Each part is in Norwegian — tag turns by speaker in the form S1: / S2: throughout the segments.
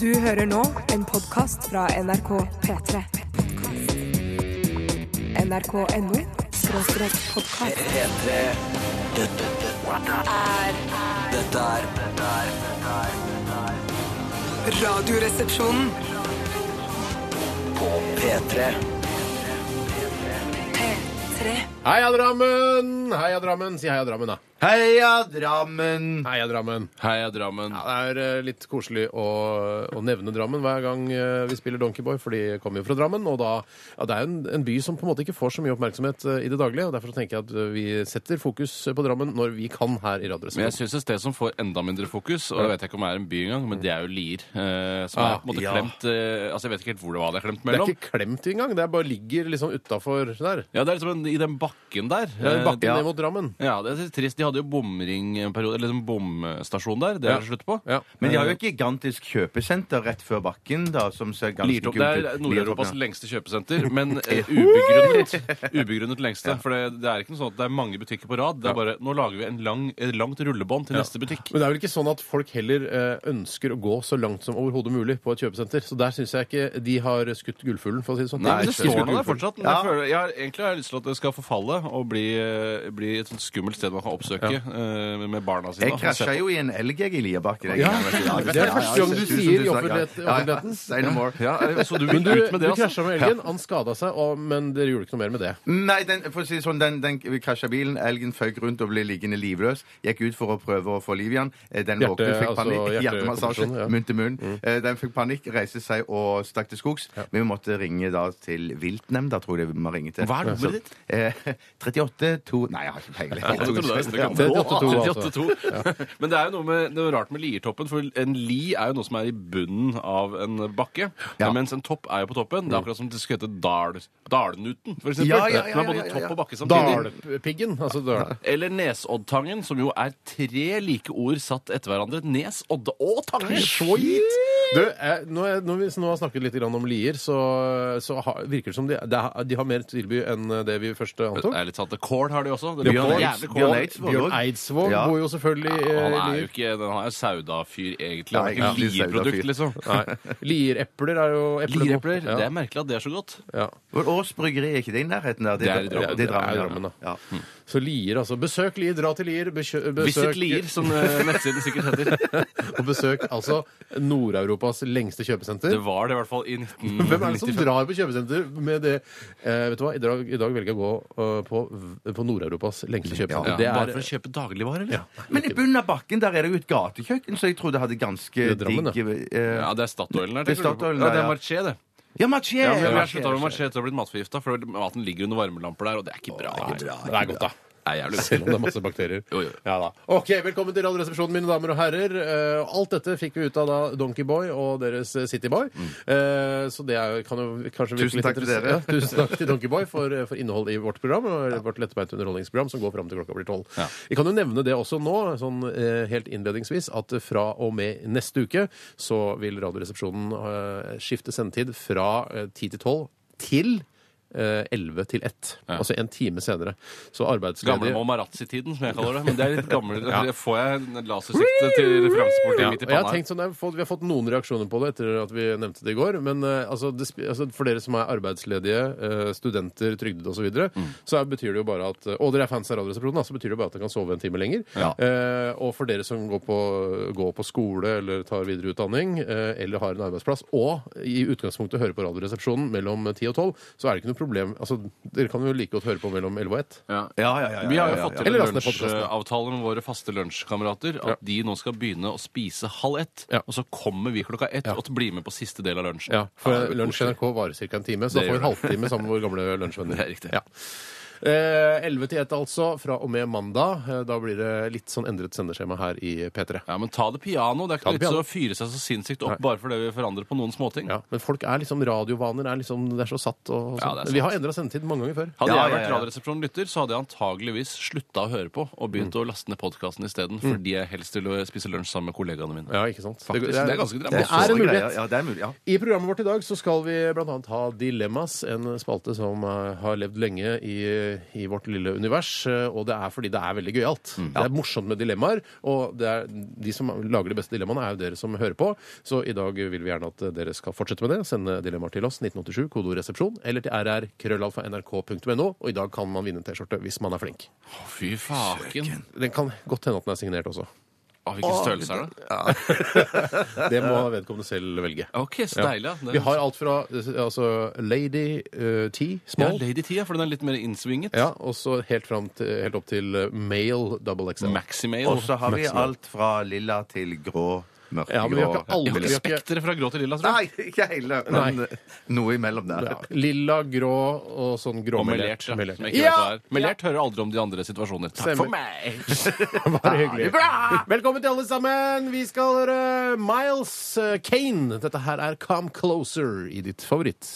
S1: Du hører nå en podkast fra NRK P3. NRK.no skråstrek podkast.
S2: P3 Dette, dette er Dette er dette er-
S1: Radioresepsjonen.
S2: På P3
S1: P3.
S3: Heia Drammen! Heia Drammen! Si heia Drammen, da.
S4: Heia Drammen!
S3: Heia Drammen.
S4: Heia Drammen.
S3: Ja, det er eh, litt koselig å, å nevne Drammen hver gang eh, vi spiller Donkeyboy, for de kommer jo fra Drammen. Og da, ja, det er en, en by som på en måte ikke får så mye oppmerksomhet eh, i det daglige. og Derfor så tenker jeg at eh, vi setter fokus eh, på Drammen når vi kan her i
S5: Men jeg
S3: Radioresepsjonen.
S5: syns et sted som får enda mindre fokus, og jeg vet ikke om det er en by engang, men det er jo Lier. Eh, som
S3: Ah,
S5: er på en måte
S4: ja.
S5: klemt eh, Altså, jeg vet ikke helt hvor det var det er klemt
S3: Det er
S5: mellom.
S3: ikke klemt engang. Det er bare ligger liksom utafor der.
S5: Ja, det er liksom en, i den bakken der.
S3: Det er
S5: Eh,
S3: bakken
S5: ja.
S3: ned mot Drammen.
S5: ja, det er så trist. De hadde jo bomring en periode, eller en bomstasjon der. Det er det slutt på. Eh,
S3: Ja.
S4: Men de har jo et gigantisk kjøpesenter rett før bakken, da, som ser ganske
S5: Liertopp,
S4: kult ut.
S5: det er
S4: Liertopp,
S5: Nord-Europas
S4: ja.
S5: lengste kjøpesenter, men eh, ubegrunnet. Ubegrunnet lengste. For det, det er ikke noe sånn at det er mange butikker på rad. Det er bare Nå lager vi en lang, et langt rullebånd til neste butikk.
S3: Men det er vel ikke sånn at folk heller eh, ønsker å gå så langt som overhodet mulig på et kjøpesenter. Så der syns jeg ikke de har skutt gullfuglen, for å si det sånn.
S5: Nei,
S3: De
S5: det
S3: har ikke skutt
S5: står nå der
S3: gullfuglen.
S5: fortsatt. Men jeg føler, jeg har, egentlig har jeg lyst til at det skal forfalle og bli, eh, bli et sånt skummelt sted man kan oppsøke eh, med barna sine.
S4: Jeg krasja jo i en elg jeg i Lierbakken. jeg.
S3: Ja,
S4: Ja, ja, ja,
S3: det er første gang du
S4: tusen,
S3: sier i
S4: tusen takk, ja.
S3: offentlighet-
S4: Ja, ja,
S3: offentligheten.
S4: Say no more.
S5: Ja, eh, så du vil
S3: Men du,
S5: ut med
S3: du
S5: det, altså?
S3: krasja med elgen, han skada seg, og, men dere gjorde ikke noe mer med det.
S4: Nei, den, for å si det sånn, den, den krasja bilen, elgen føk rundt og ble liggende livløs. Gikk ut for å prøve å få liv i han. Eh, Den
S3: Hjerte-
S4: våkne, fikk
S3: altså
S4: panikk.
S3: hjertekompresjon,
S4: Hjertemassasje.
S3: ja. Mm.
S4: Munn til munn. Eh, Den fikk panikk, reiste seg og stakk til skogs. Men vi måtte ringe da til viltnemnda, tror jeg det må ringe til.
S5: Hva er nummeret ditt?
S4: Eh, 38 2 Nei, jeg har ikke
S5: Jeg trodde det var neste gang.
S4: peiling.
S3: 38-2, altså.
S5: 38-2. Men det er jo noe, med, det er rart med liertoppen, for en li er jo noe som er i bunnen av en bakke.
S4: Ja.
S5: Mens en topp er jo på toppen. Det er akkurat som det skulle hete dal, dalnuten, for eksempel.
S4: Ja, ja, ja,
S5: som er
S4: ja,
S5: både
S4: ja, ja.
S5: topp og bakke samtidig.
S3: Dalpiggen. Altså dal.
S5: Eller Nesoddtangen, som jo er tre like ord satt etter hverandre. Nes, odde og tange.
S3: Du, eh, nå er- når vi nå har snakket litt grann om Lier, så, så har, virker det som de, det er- de har mer tilby enn eh, det vi først
S5: Det
S3: antok.
S5: er litt sant. Kål har de også. Det
S4: Bjørn
S5: blir
S4: Eids-
S5: jævlig
S4: Bjørn
S5: kål.
S4: Eids var
S3: Bjørn
S4: også.
S3: Eidsvåg
S4: Ja.
S3: bor jo selvfølgelig i
S5: eh, Ja, han
S3: eh,
S5: er jo
S3: Lier.
S5: ikke, den er jo sauda-fyr, egentlig.
S4: Ja,
S5: Han er ikke
S4: egentlig
S5: Lier-produkt,
S4: sauda-fyr.
S5: liksom.
S3: Nei. Lierepler er jo eplebo.
S5: Lierepler.
S3: Ja.
S5: Det er merkelig at det er så godt.
S3: ja.
S4: Og Ås bryggeri, er ikke det i nærheten der?
S5: Det er i Drammen.
S4: Det er
S3: Det er i
S4: Drammen,
S3: Drammen,
S4: ja. ja.
S3: Så Lier, altså. Besøk Lier, dra til Lier. Besøk,
S5: Visit
S3: besøk
S5: Lier, som eh, nettsiden sikkert heter.
S3: Og besøk altså Nord-Europas lengste kjøpesenter.
S5: Det var det i hvert fall i
S3: Hvem er det som
S5: 1995.
S3: drar på kjøpesenter med det eh, Vet du hva, i dag, i dag velger jeg å gå eh, på, v- på Nord-Europas lengste kjøpesenter.
S5: Det er... Bare
S3: det
S5: for
S3: er
S5: å kjøpe dagligvarer, eller? Ja.
S4: Men i bunnen av bakken der er det jo et gatekjøkken, så jeg tror det hadde ganske
S3: Det er Drammen,
S4: digg eh,
S5: det er Statoilen der.
S4: Det er
S5: tenker du på?
S4: Statoilen
S5: ja,
S4: der,
S5: det er
S4: ja.
S5: Marché, det.
S4: Ja, Mathieu!
S5: Ja, men jeg slutta med Marché etter å ha blitt matforgifta, for maten ligger under varmelamper der, og det er ikke bra. Det er,
S3: det er godt, da.
S5: jævlig
S3: Selv om det er masse bakterier.
S5: Jo, jo.
S3: Ja, da. Ok, Velkommen til Radioresepsjonen, mine damer og herrer. Eh, alt dette fikk vi ut av da Donkeyboy og deres eh, Cityboy. Eh, så det er, jo- kan jo kanskje virke
S4: Tusen
S3: litt
S4: takk til
S3: interess-
S4: dere.
S3: Ja, tusen takk til Donkeyboy for, eh, for innholdet i vårt program. Og Vårt lettbeinte underholdningsprogram som går fram til klokka blir tolv.
S5: Ja.
S3: Vi kan jo nevne det også nå, sånn eh, helt innledningsvis, at fra og med neste uke så vil Radioresepsjonen eh, skifte sendetid fra eh, 10 til 12 til eh, 11 til 1. Altså en time senere. Så
S5: Gamle
S3: arbeidsledige
S5: Momarazzi-tiden, som jeg kaller det. Men det er litt gammel Får jeg en lasersikte til referansepolitiet
S3: Ja,
S5: midt i
S3: og jeg har
S5: panna? her?
S3: tenkt sånn, jeg har fått, Vi har fått noen reaksjoner på det etter at vi nevnte det i går. Men eh, altså, det, sp- altså, for dere som er arbeidsledige, eh, studenter, trygdede osv., så, videre,
S5: Mm.
S3: så er, betyr det jo bare at Og dere er fans av Radioresepsjonen, da, så betyr det jo bare at dere kan sove en time lenger.
S5: Ja.
S3: Eh, og for dere som går på, går på skole eller tar videre utdanning, eh, eller har en arbeidsplass, og i utgangspunktet hører på Radioresepsjonen mellom 10 og 12, så er det ikke noe problem. Altså, dere kan jo like godt høre på mellom 11 og 1.
S5: Ja.
S4: Ja, ja, ja, ja,
S5: Vi har jo
S4: ja,
S5: fått
S4: ja.
S5: til
S3: Eller
S5: en
S3: laste ned podcasten, da.
S5: lunsjavtale med våre faste lunsjkamerater at
S3: Ja.
S5: de nå skal begynne å spise halv ett.
S3: Ja.
S5: Og så kommer vi klokka ett og blir med på siste del av lunsjen.
S3: Ja, for
S5: Ja, det er
S3: Lunsj
S5: koselig.
S3: NRK varer ca. en time, så da
S5: Det
S3: får vi en
S5: gjør
S3: halvtime sammen med våre gamle lunsjvenner.
S5: Det er riktig.
S3: Ja. Eh, 11 til 1 altså, fra og med mandag. Eh, Da blir det litt sånn endret sendeskjema her i P3.
S5: Ja, men ta det piano. Det er
S3: Ta
S5: ikke
S3: det
S5: noe vits i
S3: piano.
S5: å fyre seg så sinnssykt opp bare fordi vi forandrer på noen småting.
S3: Ja, men folk er liksom radiovaner. Er liksom, det er så satt. Og, og sånn.
S5: Ja, det er sant.
S3: vi har endra sendetid mange ganger før.
S5: Hadde
S4: Ja,
S5: jeg
S4: ja,
S5: vært
S4: ja.
S5: Radioresepsjonen-lytter, så hadde jeg antageligvis slutta å høre på og begynt
S3: Mm.
S5: å laste ned podkasten isteden, fordi jeg helst vil spise lunsj sammen med kollegaene mine.
S3: Ja, ikke sant?
S5: Faktisk, det er ganske
S3: det
S5: dramatisk.
S3: er en
S4: Store
S3: mulighet.
S4: greier. Ja, det er mulig, ja.
S3: I programmet vårt i dag så skal vi bl.a. ha Dilemmas, en spalte som eh, har levd lenge i eh, i vårt lille univers. eh, Og det er fordi det er veldig gøyalt. Det er morsomt med dilemmaer, og det er de som lager de beste dilemmaene, er jo dere som hører på. Så i dag vil vi gjerne at dere skal fortsette med det. Sende dilemmaer til oss, 1987, kodeord resepsjon, eller til rrkrøllalfa.nrk.no. Og i dag kan man vinne en T-skjorte hvis man er flink.
S5: Å, fy faken.
S3: Den kan godt hende at den er signert også.
S5: Å, hvilken størrelse er det?
S3: Det må vedkommende selv velge.
S5: Ok, så deilig. da. Det-
S3: Vi har alt fra eh, altså, Lady eh, T,
S5: ja,
S3: small,
S5: Lady T, ja, for den er litt mer innsvinget.
S3: Ja, og så helt, fram til, helt opp til eh, male double XL.
S5: Maximale.
S4: Og så har vi alt fra lilla til grå, mørkegrå
S3: Ja, men vi har ikke alle-
S5: Jeg har
S3: vi
S5: ikke
S3: har ikke-
S5: spekteret fra grå til lilla, tror jeg.
S4: Nei, ikke hele, men eh,
S3: Nei.
S4: noe imellom der.
S3: Lilla, grå og sånn
S5: Og
S3: gråmelert.
S5: melert. Ja.
S3: Melert.
S5: som jeg ikke
S3: Ja!
S5: vet hva er. Melert hører aldri om de andre situasjoner. Takk
S3: Stemmer.
S5: for meg!
S3: Bare hyggelig. Velkommen til alle sammen. Vi skal høre Miles eh, Kane. Dette her er Come Closer i ditt favoritt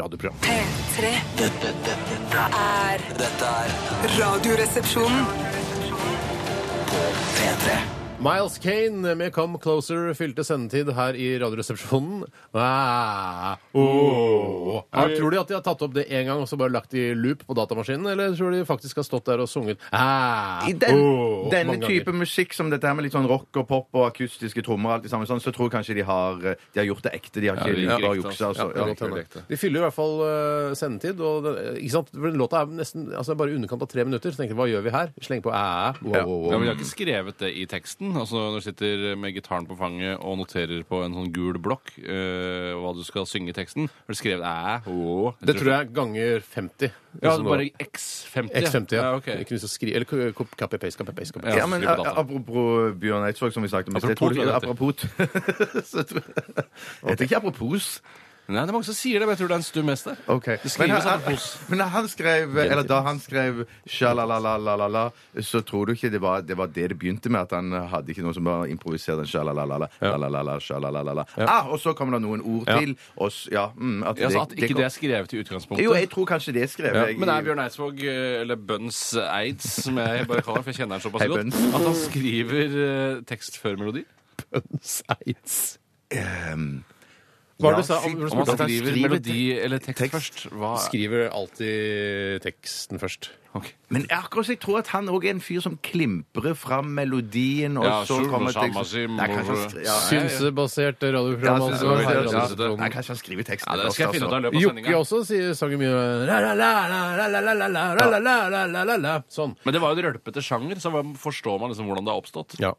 S3: radioprogram.
S1: P3
S2: Dette, dette, dette
S1: er
S2: dette er
S1: Radioresepsjonen.
S2: P3.
S3: Miles Kane med Come Closer fylte sendetid her i Radioresepsjonen. Ah, oh. Ja, tror de at de har tatt opp det én gang og så bare lagt i loop på datamaskinen, eller tror de faktisk har stått der og sunget ah,
S4: I den,
S3: oh,
S4: denne
S3: mange
S4: type
S3: ganger?
S4: musikk som dette her med litt sånn rock og pop og akustiske trommer, og alt det samme, sånn, så tror jeg kanskje de har, de har gjort det ekte. De har
S5: Ja,
S4: ikke
S5: det
S4: ja, bare
S5: virker ekte,
S4: juksa.
S5: altså.
S4: Altså.
S5: Ja,
S4: Ja,
S5: det virker
S4: det
S5: ekte.
S3: De fyller i hvert fall eh, sendetid. Og den, ikke sant? For den låta er nesten altså bare i underkant av tre minutter. Så tenker jeg, hva gjør vi her? Sleng på æ, æ, wow,
S4: Ja.
S3: wow, wow.
S5: Ja, men Jeg har ikke skrevet det i teksten. Altså Når du sitter med gitaren på fanget og noterer på en sånn gul blokk eh, hva du skal synge i teksten, har du skrevet æ, å
S3: Det tror jeg ganger 50.
S5: Ja,
S3: Sånn
S5: bare
S3: nå.
S5: X50.
S3: X50, ja.
S5: ja ok.
S3: Ikke minst å skri, eller copy paste, copy paste, copy paste.
S5: Ja.
S4: Ja, men eh,
S5: skriv på data.
S4: Apropos Bjørn Eidsvåg, som vi snakket om i sted. tror
S5: Apropos
S4: du-
S5: Bjørn
S4: Apropos Så tror jeg- Heter ikke apropos.
S5: Nei, det er mange som sier det, men jeg tror det er en stum S der.
S4: Ok.
S5: Det
S4: Men,
S5: skrives
S4: han,
S5: apropos.
S4: men han skrev, eller da han skrev «Sjalalalalala», så tror du ikke det var, det var det det begynte med? At han hadde ikke noe som bare improviserte en «Sjalalala, lalalala, sjalalala». Ah, og så kommer det noen ord
S3: Ja.
S4: til. Og, s- ja, mm, at
S5: Ja, altså, at ikke det
S4: kom-
S5: er skrevet i utgangspunktet.
S4: Jo, jeg tror kanskje det skrev jeg.
S5: Men det er Bjørn Eidsvåg, eh, eller Bønns Eids, som jeg bare kaller han, for jeg kjenner han såpass
S4: Hei,
S5: godt,
S4: Bønn.
S5: at han skriver eh, tekst før melodi.
S3: Seitz.
S4: Ehm,
S3: Hva var
S4: ja,
S3: det du sa?
S4: si-
S3: Om,
S5: Om han
S3: spurte om-
S5: skriver,
S4: skriver
S5: melodi eller tekst, først, hva
S3: skriver alltid teksten først.
S5: Ok.
S4: Men akkurat så jeg tror at han òg er en fyr som klimprer fram melodien, og
S5: Ja,
S4: så
S5: sure,
S4: kommer
S5: samme
S4: teksten-
S5: som-
S4: Nei, kanskje han skri- ja, ja, ja.
S3: Synsebasert
S4: Ja,
S3: radioprogram.
S4: synes
S3: altså,
S4: jeg
S3: her i
S4: det var- ja.
S3: Radioresepsjonen.
S4: Nei, Kanskje han skriver teksten. altså.
S5: Ja, det skal
S3: altså.
S5: jeg finne ut av i løpet av
S3: Jokke
S5: sendinga.
S3: også sier, sanger mye la, la, la, la, la, la, la, la, la, la, la, la, la, la, la. Sånn.
S5: Men det var jo en rølpete sjanger, så man forstår man liksom hvordan det har oppstått.
S3: Ja.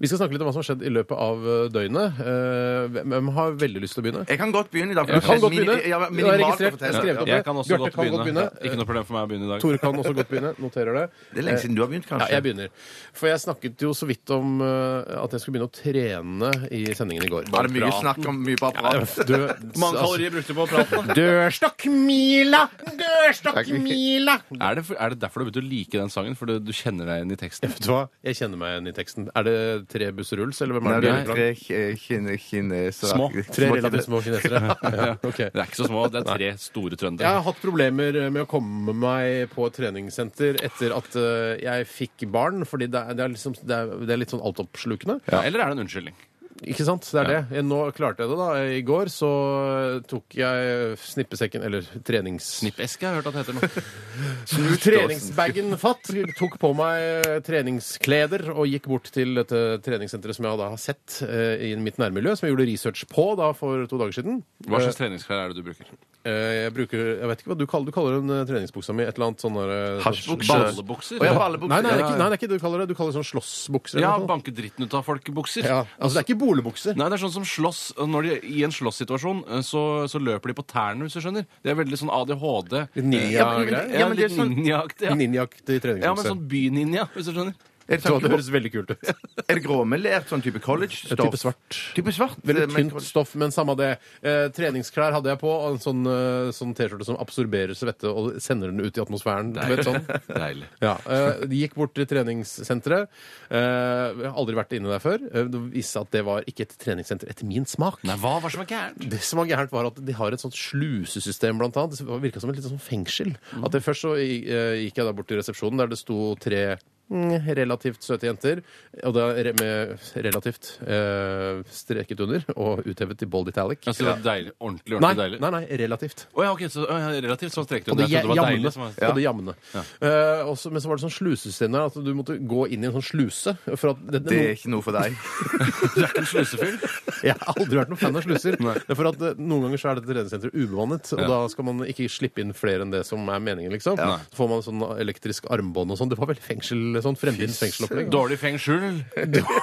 S3: Vi skal snakke litt om hva som har skjedd i løpet av eh, døgnet. Eh, hvem- Hvem har veldig lyst til å begynne?
S4: Jeg kan godt begynne i dag. for
S3: Du
S4: det
S3: kan
S4: er
S3: godt begynne.
S4: mini- ja, men
S3: Du har
S4: minimalt å
S3: registrert.
S4: fortelle.
S3: Jeg skrev det opp.
S5: Jeg kan også
S3: Bjarte
S5: godt
S3: kan godt
S5: begynne.
S3: begynne.
S5: Ikke noe problem for meg å begynne i dag.
S3: Tore kan også godt begynne. Noterer det.
S4: Det er lenge siden du har begynt,
S3: Ja,
S4: kanskje?
S3: jeg begynner. For jeg snakket jo så vidt om eh, at jeg skulle begynne å trene i sendingen i går.
S4: Ja, det er mye snakk om mye på apparat.
S3: Du, altså,
S5: brukte på praten,
S3: Dørstokkmila! Dørstokkmila!
S5: Er det, for, er det derfor du begynte å like den sangen? For du, du kjenner deg igjen i teksten?
S3: Vet du hva? Jeg kjenner meg igjen i teksten. Er det tre busser ruls, eller hvem
S4: Nei,
S3: er
S4: det
S3: det?
S4: er tre ki- kine, kinesere
S5: Små.
S3: Tre relativt små kinesere. Ja, ok.
S5: Det er ikke så små, det er tre store
S3: Jeg
S5: trøndere.
S3: har hatt problemer med å komme meg på et treningssenter etter at eh, jeg fikk barn, fordi det er, det er, liksom, det er, det er litt sånn altoppslukende.
S5: Ja. Eller er det en unnskyldning?
S3: Ikke sant? Det er det. Jeg- Nå klarte jeg det, da. I går så tok jeg snippesekken, eller trenings...
S5: Snippeske har jeg hørt at det heter nå.
S3: Treningsbagen fatt tok på meg eh, treningskleder og gikk bort til dette treningssenteret som jeg da har sett eh, i mitt nærmiljø, som jeg gjorde research på da for to dager siden.
S5: Hva slags treningsklær er det du bruker?
S3: Eh, Jeg bruker, jeg vet ikke hva du kaller Du kaller den eh, treningsbuksa mi et eller annet sånn der, eh,
S4: Hasjbukse.
S5: Ballebukser?
S4: Å, ja, ballebukser.
S3: Nei, nei, det er ikke, nei, det er ikke det du kaller det. Du kaller det sånn slåssbukser.
S5: Ja,
S3: eller noe sånt.
S5: banke dritten ut av folk-bukser.
S3: ja, altså det er ikke boligbukser.
S5: Nei, det er sånn som slåss når de, I en slåsssituasjon eh, så, så løper de på tærne, hvis du skjønner. Det er veldig sånn ADHD.
S3: Litt ninja-greier.
S5: Ja,
S4: men det
S5: litt
S4: er sånn-
S5: ninjaaktig. Ja.
S3: Ninjaaktig
S5: ja, men
S3: treningsbukse.
S5: sånn byninja, hvis du skjønner.
S4: Er det,
S3: Så det
S4: sånn,
S3: høres veldig kult ut.
S4: er det gråmelert, sånn type
S3: Et
S4: college-stoff?
S3: type svart.
S4: Type svart,
S3: Veldig
S4: Eh, men-
S3: tynt stoff, men samme det. Eh, treningsklær hadde jeg på, og en sånn, eh, sånn T-skjorte som absorberer svette og sender den ut i atmosfæren. Du vet, sånn.
S5: Deilig.
S3: Ja, eh, De gikk bort til treningssenteret. Eh, jeg har aldri vært inne der før. Eh, det viste seg at det var ikke et treningssenter etter min smak.
S5: Nei, hva var som er gærent?
S3: Det som var gærent, var at de har et sånt slusesystem, blant annet. Det virka som et lite sånn fengsel. At det Først så eh, gikk jeg da bort til resepsjonen, der det sto tre mm, relativt søte jenter. Og da re- med relativt eh, streket under og uthevet til bold italic.
S5: Altså, det er deilig, ordentlig,
S3: Nei,
S5: ordentlig deilig.
S3: nei, nei, relativt.
S5: Å ja, ok, så å, ja, relativt sånn strekt
S3: På
S5: hun.
S3: det
S5: Jeg trodde det var
S3: jamne.
S5: deilig. Som var,
S3: På det jamne. Eh, også, men så var det sånn slusesystem der at du måtte gå inn i en sånn sluse. For at det,
S4: Det er ikke noe for deg.
S5: Du er ikke en slusefyr.
S3: Jeg har aldri vært noen fan av sluser.
S5: Nei.
S3: Det er for at eh, Noen ganger så er dette treningssenteret ubemannet, og
S5: Ja.
S3: da skal man ikke slippe inn flere enn det som er meningen. liksom.
S5: Ja.
S3: Så får man sånn elektrisk armbånd og sånn. Det var vel fengsel, sånn fremtidens fengselopplegg.
S5: Dårlig feng shui.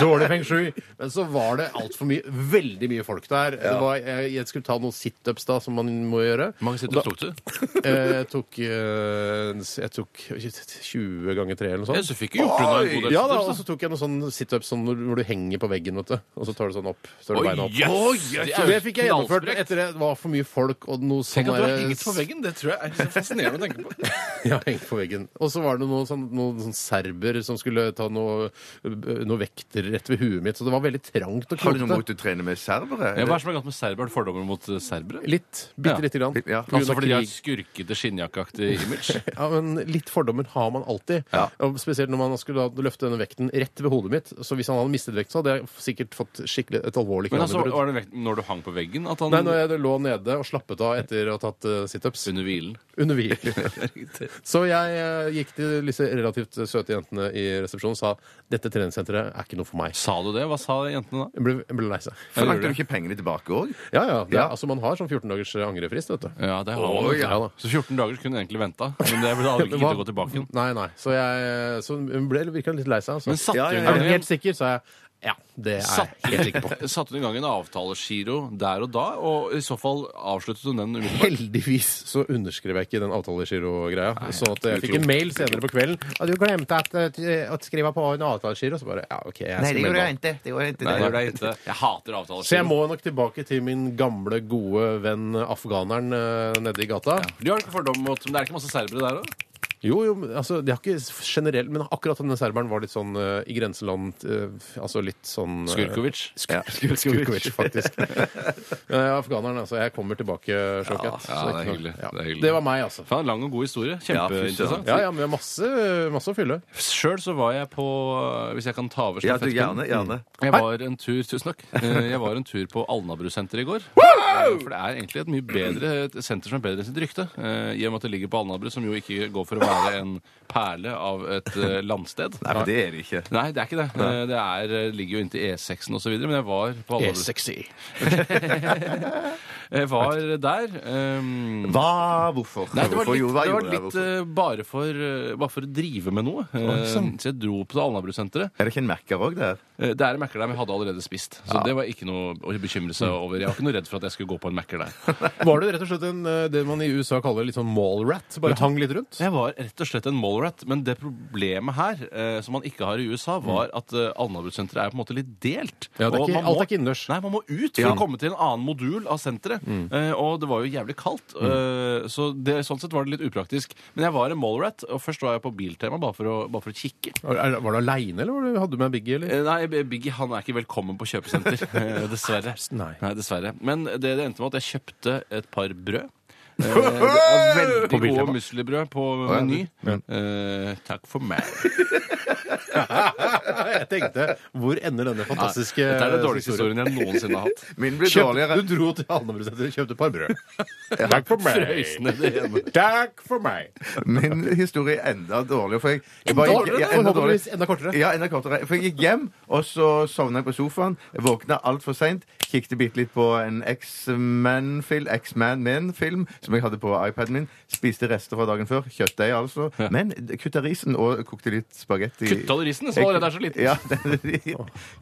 S3: Dårlig feng shui. Men så var det altfor mye, veldig mye folk der. Det var, jeg, jeg skulle ta noen situps da, som man må gjøre.
S5: Hvor mange sitter og tok du?
S3: Eh, Jeg tok, eh, jeg tok 20 ganger 3 eller noe
S5: Ja,
S3: sånt.
S5: så fikk jo gjort unna en god del.
S3: Ja da, og
S5: situps,
S3: så tok jeg noen sånn situps sånn, hvor- hvor du henger på veggen, vet du. Og så tar du sånn opp. Så tar du
S5: Oi,
S3: beina opp.
S5: jøss!
S3: Oi,
S5: Det
S3: jøss!
S5: er
S3: Så
S5: jo
S3: det fikk jeg gjennomført
S5: knallsprekt.
S3: etter det. Det var for mye folk og noe sånn
S5: Tenk at du har
S3: der-
S5: hengt på veggen. Det tror jeg er så fascinerende å tenke på.
S3: Ja, hengt på veggen. Og så var det noen, sånn, noen sånn serber som skulle ta noe, noe vekter rett ved huet mitt, så det var veldig trangt og
S4: Har du noe mot
S3: knotete.
S4: å trene med serbere?
S5: Ja, hva er det som er galt med serbere? Har du fordommer mot eh, serbere?
S3: Litt. Bitte
S5: Ja.
S3: lite grann.
S4: Ja.
S3: På grunn
S5: Altså
S3: av
S5: fordi de har
S3: krig.
S5: et skurkete, skinnjakkeaktig image?
S3: Ja, men litt fordommer har man alltid.
S4: Ja.
S3: Og spesielt når man skulle da løfte denne vekten rett ved hodet mitt. Så hvis han hadde mistet vekt, så hadde jeg sikkert fått skikkelig et alvorlig
S5: Men altså,
S3: kranebrudd.
S5: var det vekt- når du hang på veggen, at han
S3: Nei, når jeg lå nede og slappet av etter å ha tatt eh, situps
S5: under hvilen
S3: under hvil. så jeg eh, gikk til disse relativt søte jentene i resepsjonen og sa dette treningssenteret er ikke noe for meg.
S5: Sa du det? Hva sa jentene da?
S3: Jeg ble, jeg ble lei seg.
S4: Forlangte du ikke pengene tilbake òg?
S3: Ja, ja. Det,
S4: Ja.
S3: Altså, man har sånn 14 dagers angrefrist, vet du.
S5: Ja, det har
S4: Å,
S5: man.
S4: ja.
S3: da.
S5: Så 14 dager kunne du egentlig venta. Men det ville aldri
S3: Det
S5: giddet
S3: var-
S5: å gå tilbake igjen.
S3: Nei, nei. Så jeg eh, så hun ble virkelig litt lei seg. altså.
S5: Men satte
S4: Ja, ja,
S5: hun
S4: ja.
S3: Er
S5: i
S3: du
S5: gang
S3: helt sikker? sa jeg. Ja, det er jeg
S5: Satt-
S3: helt sikker på.
S5: en- Satte hun i gang en avtalegiro der og da? Og i så fall avsluttet hun den umiddelbart?
S3: Heldigvis så underskrev jeg ikke den avtalegiro-greia. Så at jeg
S4: skulle
S3: fikk en mail senere på kvelden. Ja, du glemte at, eh, å skrive på en avtalegiro. Så bare ja, OK, jeg skal melde meg.
S4: ikke. Det gjorde jeg
S5: Nei,
S4: Det gjorde jeg
S5: ikke. Jeg
S3: Så
S5: hater
S3: jeg
S5: avtalegiro.
S3: må nok tilbake til min gamle, gode venn afghaneren eh, nede i gata.
S5: Du har ikke fordom mot Men det er ikke masse serbere der òg?
S3: Jo, jo, men, altså, det har ikke generelt Men akkurat denne serberen var litt sånn eh, i grenseland eh, Altså litt sånn eh,
S5: Skurkovic.
S3: Skur- Skurkovic, faktisk. Men, eh, afghaneren, altså. Jeg kommer tilbake, Sjokket.
S5: Ja,
S3: Så
S5: det er
S3: ikke noe-
S5: hyggelig.
S3: ja.
S5: Det er hyggelig.
S3: Det var meg, altså.
S5: Faen, lang og god historie. Kjempeinteressant.
S3: Ja, ja, men vi har masse, masse å fylle.
S5: Sjøl så var jeg på Hvis jeg kan ta over
S4: Ja, du,
S5: stafettpinnen.
S4: gjerne. gjerne.
S3: Mm.
S5: Jeg var en tur Tusen takk. Eh, Jeg var en tur på Alnabrusenteret i går. Eh, For det er egentlig et mye bedre et senter som er bedre enn sitt rykte. Eh, I og med at det ligger på Alnabru, som jo ikke går for å være en perle av et eh, landsted.
S4: Nei, men det er det ikke.
S5: Nei, det er ikke det. Eh, Det er, eh, ligger jo inntil E6-en osv., men jeg var på
S4: E
S5: Alnabru.
S3: sexy.
S5: Jeg var der. ehm,
S4: Hva? Hvorfor?
S5: Nei, det var
S4: Hvorfor?
S5: litt,
S4: Jo, hva
S5: det var
S4: gjorde jeg?
S5: litt
S4: Hvorfor?
S5: eh, bare, for, eh, bare for å drive med noe. Eh,
S3: sant.
S5: Så jeg dro på det Alnabrusenteret.
S4: Er det ikke en merker òg der?
S5: Eh, Det er en Mækker der, men jeg hadde allerede spist. Så det var ikke noe å bekymre seg over. Jeg var ikke noe redd for at jeg skulle gå på en Mækker der.
S3: Var du rett og slett en, eh, det man i USA kaller litt sånn mallrat? Bare hang litt rundt?
S5: Jeg var rett og slett en mallrat, men det problemet her, eh, som man ikke har i USA, var at eh, Alnabru-senteret er på en måte litt delt.
S3: Ja, det er
S5: Og
S3: ikke,
S5: man
S3: alt
S5: må-
S3: er ikke innendørs.
S5: Nei, man må ut for å komme til en annen modul av senteret. Eh, og det var jo jævlig kaldt, eh, så det, sånn sett var det litt upraktisk. Men jeg var en mallrat, og først var jeg på Biltema bare for å, bare for å kikke.
S3: Er- er- Var du aleine, eller var du- hadde du med Biggie? Eller?
S5: Eh, Nei, B- Biggie han er ikke velkommen på kjøpesenter. eh, Dessverre.
S3: Nei.
S5: dessverre. Men det, det endte med at jeg kjøpte et par brød. Eh, det var
S3: På
S5: veldig
S3: Biltema.
S5: gode muslibrød på
S4: ja,
S5: Meny. Eh, takk for meg.
S3: Jeg tenkte, hvor ender denne fantastiske
S5: Dette er den
S4: eh,
S5: dårligste historien jeg noensinne har hatt.
S4: Min blir
S3: Kjøpte,
S4: dårligere.
S3: du dro til Alnabruseter og kjøpte et par brød. Takk for
S5: Frøs ned det ene.
S3: Takk for meg.
S4: Min historie er enda dårligere. For jeg, jeg
S3: Enda
S4: bare gikk-
S3: dårligere?
S4: ja, enda
S3: Forhåpentligvis
S4: dårligere.
S3: enda kortere.
S4: Ja, enda kortere. For jeg gikk hjem, og så sovna jeg på sofaen. Jeg våkna altfor seint. Kikket bitte litt på en X-Man-film, X-Man-Man-film som jeg hadde på iPaden min. Spiste rester fra dagen før. Kjøttdeig, altså. Men kutta risen og kokte litt spagetti.
S5: Kutta du risen? Så allerede er så liten.
S4: Ja, det,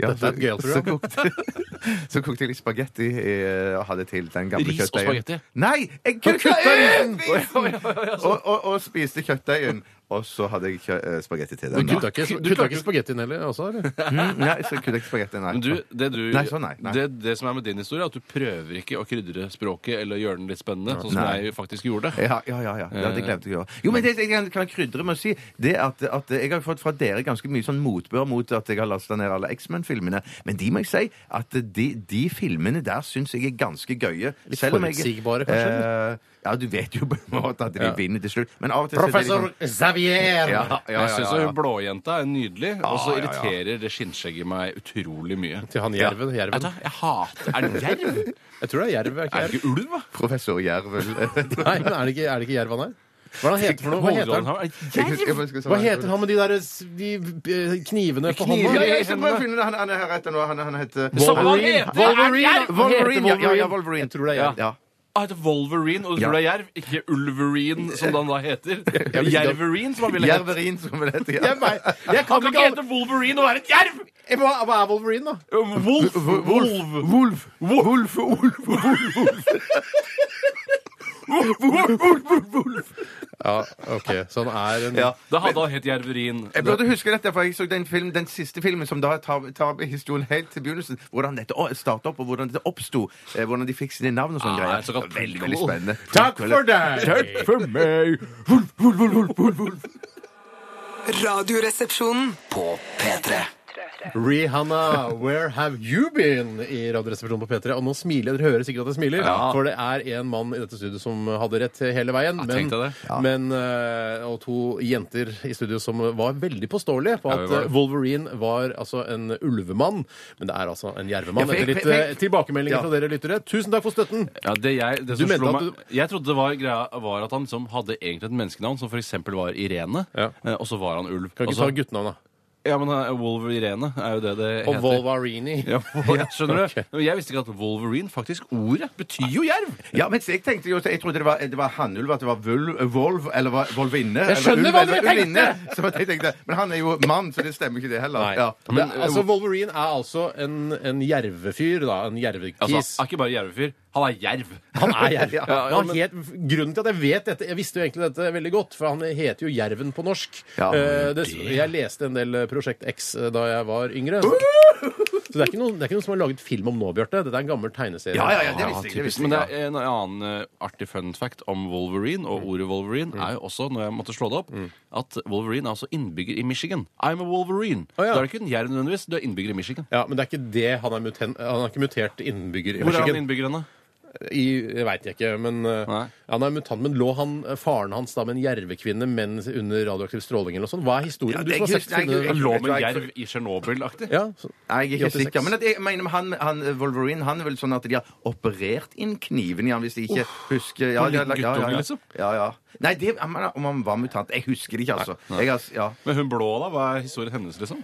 S4: ja,
S3: Dette er et gøyalt
S4: så,
S3: program.
S4: kokte, så kokte jeg litt spagetti eh, og hadde til den gamle
S5: Ris og
S4: kjøttdeigen.
S5: spagetti?
S4: Nei! Jeg kutta risen! Og, og, og spiste kjøttdeigen. Og så hadde jeg kjø eh, spagetti til den.
S3: Du
S4: da.
S3: kutta ikke,
S5: Du
S3: kutta
S5: klarte
S3: ikke
S5: jo-
S3: spagettien heller? Også, eller?
S4: Mm, Nei, så kutta jeg ikke spagetti, nei.
S5: Men du, det, du,
S4: Nei, sånn, nei, nei.
S5: Det, det som er med din historie, er at du prøver ikke å krydre språket eller gjøre den litt spennende, sånn som
S4: Nei.
S5: jeg faktisk gjorde.
S4: Ja, ja, ja, ja. ja det glemte jeg å gjøre. Jo, men det jeg kan- kan krydre med å si, det er at, at jeg har fått fra dere ganske mye sånn motbør mot at jeg har lasta ned alle X-Men-filmene. Men de må jeg si at de, de filmene der syns jeg er ganske gøye. Litt
S3: forutsigbare, kanskje,
S4: Eh, ja, du vet jo på en måte at de vinner til slutt. Men av og til så er det litt sånn-
S6: Javier!
S4: Ja, ja, ja,
S5: Jeg syns
S4: ja, ja.
S5: hun blåjenta er nydelig, og så
S4: Ja, ja, ja.
S5: irriterer det skinnskjegget meg utrolig mye.
S3: Til han jerven.
S5: Vet du,
S3: jerven.
S5: jeg hater Er det jerv?
S3: Jeg tror det er jerv. Er ikke
S5: Er
S3: jerv.
S5: det ikke ulv? da?
S4: Professor Jervel.
S3: Nei, men er det ikke, er det ikke jerv han er? Hva er det han heter for noe? Hva heter han?
S5: Holder han- Er det jerv?
S3: Hva heter han med de, der, s- de eh, knivene på
S5: Kniver.
S4: Ja,
S3: hånda?
S4: ja, jeg skal prøve å finne det. Han, han er her etter nå. Han, han heter
S5: Wolverine.
S3: Wolverine!
S5: Er det
S3: Han heter
S5: jerv?
S4: Wolverine, ja, ja, ja, Wolverine.
S3: Jeg tror det er jerv.
S4: Ja.
S5: Han heter Wolverine, og du tror det er jerv? Ikke Ulverine, som han da heter. Jerverine, som han ville hett.
S4: Jerverin, som han heter.
S3: Jeg,
S4: Ja.
S3: vet- jeg
S5: Han
S3: kan ikke
S5: kan ikke
S3: alle
S5: hete Wolverine og være et jerv!
S3: Eh, Hva hva er Wolverine, da?
S5: Um, Wolf.
S4: Wolf.
S5: Wolf.
S4: Wolf. Wolf, Wolf, Wolf, Wolf, Wolf, Wolf, Wolf, Wolf.
S3: Ja, OK. Så han er en
S4: Ja.
S5: Da hadde han hett Jerverin.
S4: Jeg burde huske dette, for jeg så den, film, den siste filmen som da tar, tar historien helt til begynnelsen. Hvordan dette å- startet opp, og hvordan dette oppsto. eh, Hvordan de fikk sine navn og sånne
S5: Ah,
S4: greier.
S5: såkalt
S4: Veldig,
S5: prequel.
S4: veldig spennende.
S3: Takk for deg!
S4: Takk for meg! Wolf, wolf, wolf, wolf, wolf.
S1: Radioresepsjonen.
S2: På P3.
S3: Rihanna, where have you been? i Radioresepsjonen på P3. Og nå smiler jeg. Dere hører sikkert at jeg smiler,
S5: Ja.
S3: for det er en mann i dette studioet som hadde rett hele veien. men,
S5: tenkte jeg det.
S3: men, eh, og to jenter i studio som var veldig påståelige på
S5: Ja,
S3: at
S5: vi var det.
S3: eh, Wolverine var altså en ulvemann, men det er altså en jervemann.
S4: Ja, for jeg-
S3: Etter litt
S4: for jeg-
S3: eh, tilbakemeldinger
S4: Ja.
S3: fra dere lyttere. Tusen takk for støtten!
S5: Ja, det jeg, det
S3: Du
S5: som
S3: mente
S5: slo
S3: at
S5: meg, jeg trodde det var greia var at han liksom hadde egentlig et menneskenavn, som f.eks. var Irene,
S3: Ja.
S5: eh, og så var han ulv.
S3: Kan ikke ta
S5: Altså-
S3: guttenavnet.
S5: Ja, men eh, Wolverine er jo det det
S3: Og
S5: heter.
S3: Wolverine.
S5: Ja, ja, skjønner du?
S3: Ok.
S5: Men Jeg visste ikke at Wolverine, faktisk ordet, betyr jo jerv!
S4: Ja, men jeg tenkte jo, jeg trodde det var, det var hannulv, at det var vulv, volv, eller var volvinne. eller
S3: skjønner
S4: ulv,
S3: hva
S4: eller
S3: dere tenkte!
S4: ulvinne. Så jeg tenkte! Men han er jo mann, så det stemmer ikke det heller.
S3: Nei.
S4: Ja.
S3: Men,
S4: eh,
S3: altså, Wolverine er altså en, en jervefyr, da. En
S5: Altså,
S3: jervekis.
S5: er ikke bare jervefyr. Han er jerv!
S3: Han er jerv.
S4: Ja,
S5: ja,
S3: Han het, grunnen til at jeg vet dette Jeg visste jo egentlig dette veldig godt, for han heter jo Jerven på norsk.
S4: Ja,
S3: Eh, det, jeg leste en del eh, Prosjekt X da jeg var yngre. Så det er ikke noen, det er ikke noen som har laget film om nå, Bjarte. Dette er en gammel tegneserie.
S4: Ja, ja, ja, det visste jeg. Det
S5: Typisk.
S4: visste
S5: Men det
S4: jeg.
S5: er en annen eh, artig fun fact om Wolverine og ordet Wolverine er jo også, når jeg måtte slå det opp, at Wolverine er altså innbygger i Michigan. I'm a Wolverine.
S3: Å, ja.
S5: Da er det ikke en jerv nødvendigvis, du er innbygger i Michigan.
S3: Ja, Men det er ikke det han er mutent, Han er ikke mutert innbygger i
S5: Hvor er han
S3: Michigan.
S5: innbygger henne?
S3: I, det veit jeg ikke, men eh,
S5: Nei.
S3: han er mutant. Men lå han, eh, faren hans da med en jervekvinne men under radioaktiv stråling eller noe sånt? Hva er historien?
S4: Ja,
S3: du
S4: det
S3: som har
S4: er
S3: sett
S4: ikke- det er
S3: filmene-
S4: ikke-
S5: Han lå
S4: Jeg
S5: med
S4: tror
S5: en
S4: jeg-
S5: jerv i Tsjernobyl-aktig.
S3: Ja, så-
S4: Nei, jeg er ikke
S3: 86.
S4: sikker. Men at jeg mener med han, han Wolverine han er vel sånn at de har operert inn kniven i han, hvis jeg ikke husker ja,
S5: en
S4: de har
S5: liten
S4: lagt- ja, ja,
S5: guttunge,
S4: ja.
S5: liksom?
S4: ja, ja. Nei, det, jeg mener om han var mutant. Jeg husker det ikke, altså. Jeg, har- ja.
S5: Men hun blå, da? Hva er historien hennes, liksom?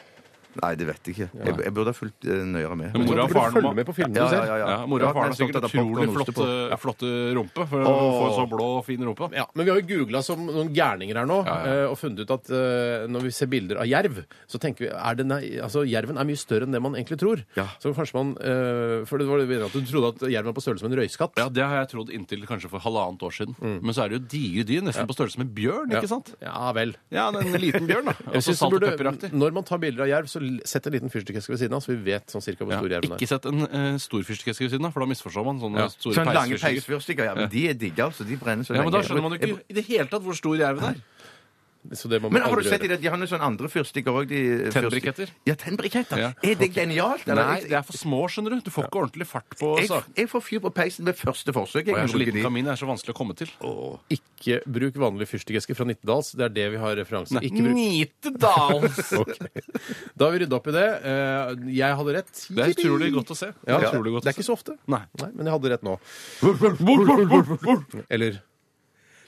S4: Nei, det vet jeg ikke. Jeg, jeg burde ha fulgt eh, nøyere med.
S3: Du
S5: Men mora og
S3: burde
S5: faren
S3: følge
S5: må-
S3: med på filmene
S4: Ja,
S3: du ser.
S4: ja, ja, ja.
S5: Ja, Mora og faren
S4: Ja,
S5: har sikkert
S4: sånn at det er popcorn og
S5: utrolig
S4: ost
S5: flotte,
S4: på.
S5: flotte rumpe. For hun
S4: Åh.
S5: får så blå og fin rumpe.
S3: Ja, Men vi har jo googla som noen gærninger her nå eh, og funnet ut at eh, når vi ser bilder av jerv, så tenker vi er den, altså jerven er mye større enn det man egentlig tror.
S4: Ja.
S3: Så kanskje man eh, For det var det vi mente, at du trodde at jerven var på størrelse med en røyskatt.
S5: Ja, Det har jeg trodd inntil kanskje for halvannet år siden. Men så er det jo digre dyr, nesten på størrelse med bjørn. ikke sant?
S3: Mm. Ja vel.
S5: Ja, en liten bjørn, da.
S3: Jeg
S5: Også
S3: synes du
S5: salt og
S3: burde,
S5: pepperaktig.
S3: når man tar bilder av jerv, så l- sett en liten fyrstikkeske ved siden av, så vi vet sånn cirka hvor
S5: Ja.
S3: stor jerven er.
S5: Ikke sett en eh, stor fyrstekeske ved siden av, for da misforstår man. Sånne
S3: Ja.
S5: store
S4: Sånn lange
S5: peisfyrstikker.
S4: peisfyrstikker, ja. Men de er digge, altså. De brenner så
S5: Ja, men Da
S4: lenge.
S5: skjønner man jo ikke i det hele tatt hvor stor jerven er.
S3: Så det må man
S4: Men har du
S3: aldri
S4: sett i
S3: gjøre.
S4: det, de har noen sånne andre fyrstikker òg?
S5: Tennbriketter.
S4: Ja, tennbriketter.
S5: Ja.
S4: Er det genialt? eller?
S5: Nei, det er for små, skjønner du. Du får ikke ordentlig fart på
S4: jeg,
S5: saken.
S4: jeg får fyr på peisen ved første forsøk. Jeg
S5: Og jeg er
S4: kan
S5: så
S4: bruke
S5: liten
S4: de.
S5: kamin, det er så vanskelig å komme til.
S3: Ikke bruk vanlig fyrstikkeske fra Nittedals. Det er det vi har referansen. Ikke bruk
S5: Nitedals!
S3: Ok. Da har vi rydda opp i det. Eh, Jeg hadde rett.
S5: Det er utrolig godt å se.
S3: Ja,
S5: det er utrolig
S3: det
S5: godt
S3: er ikke så ofte.
S5: Nei.
S3: men jeg hadde rett nå. Eller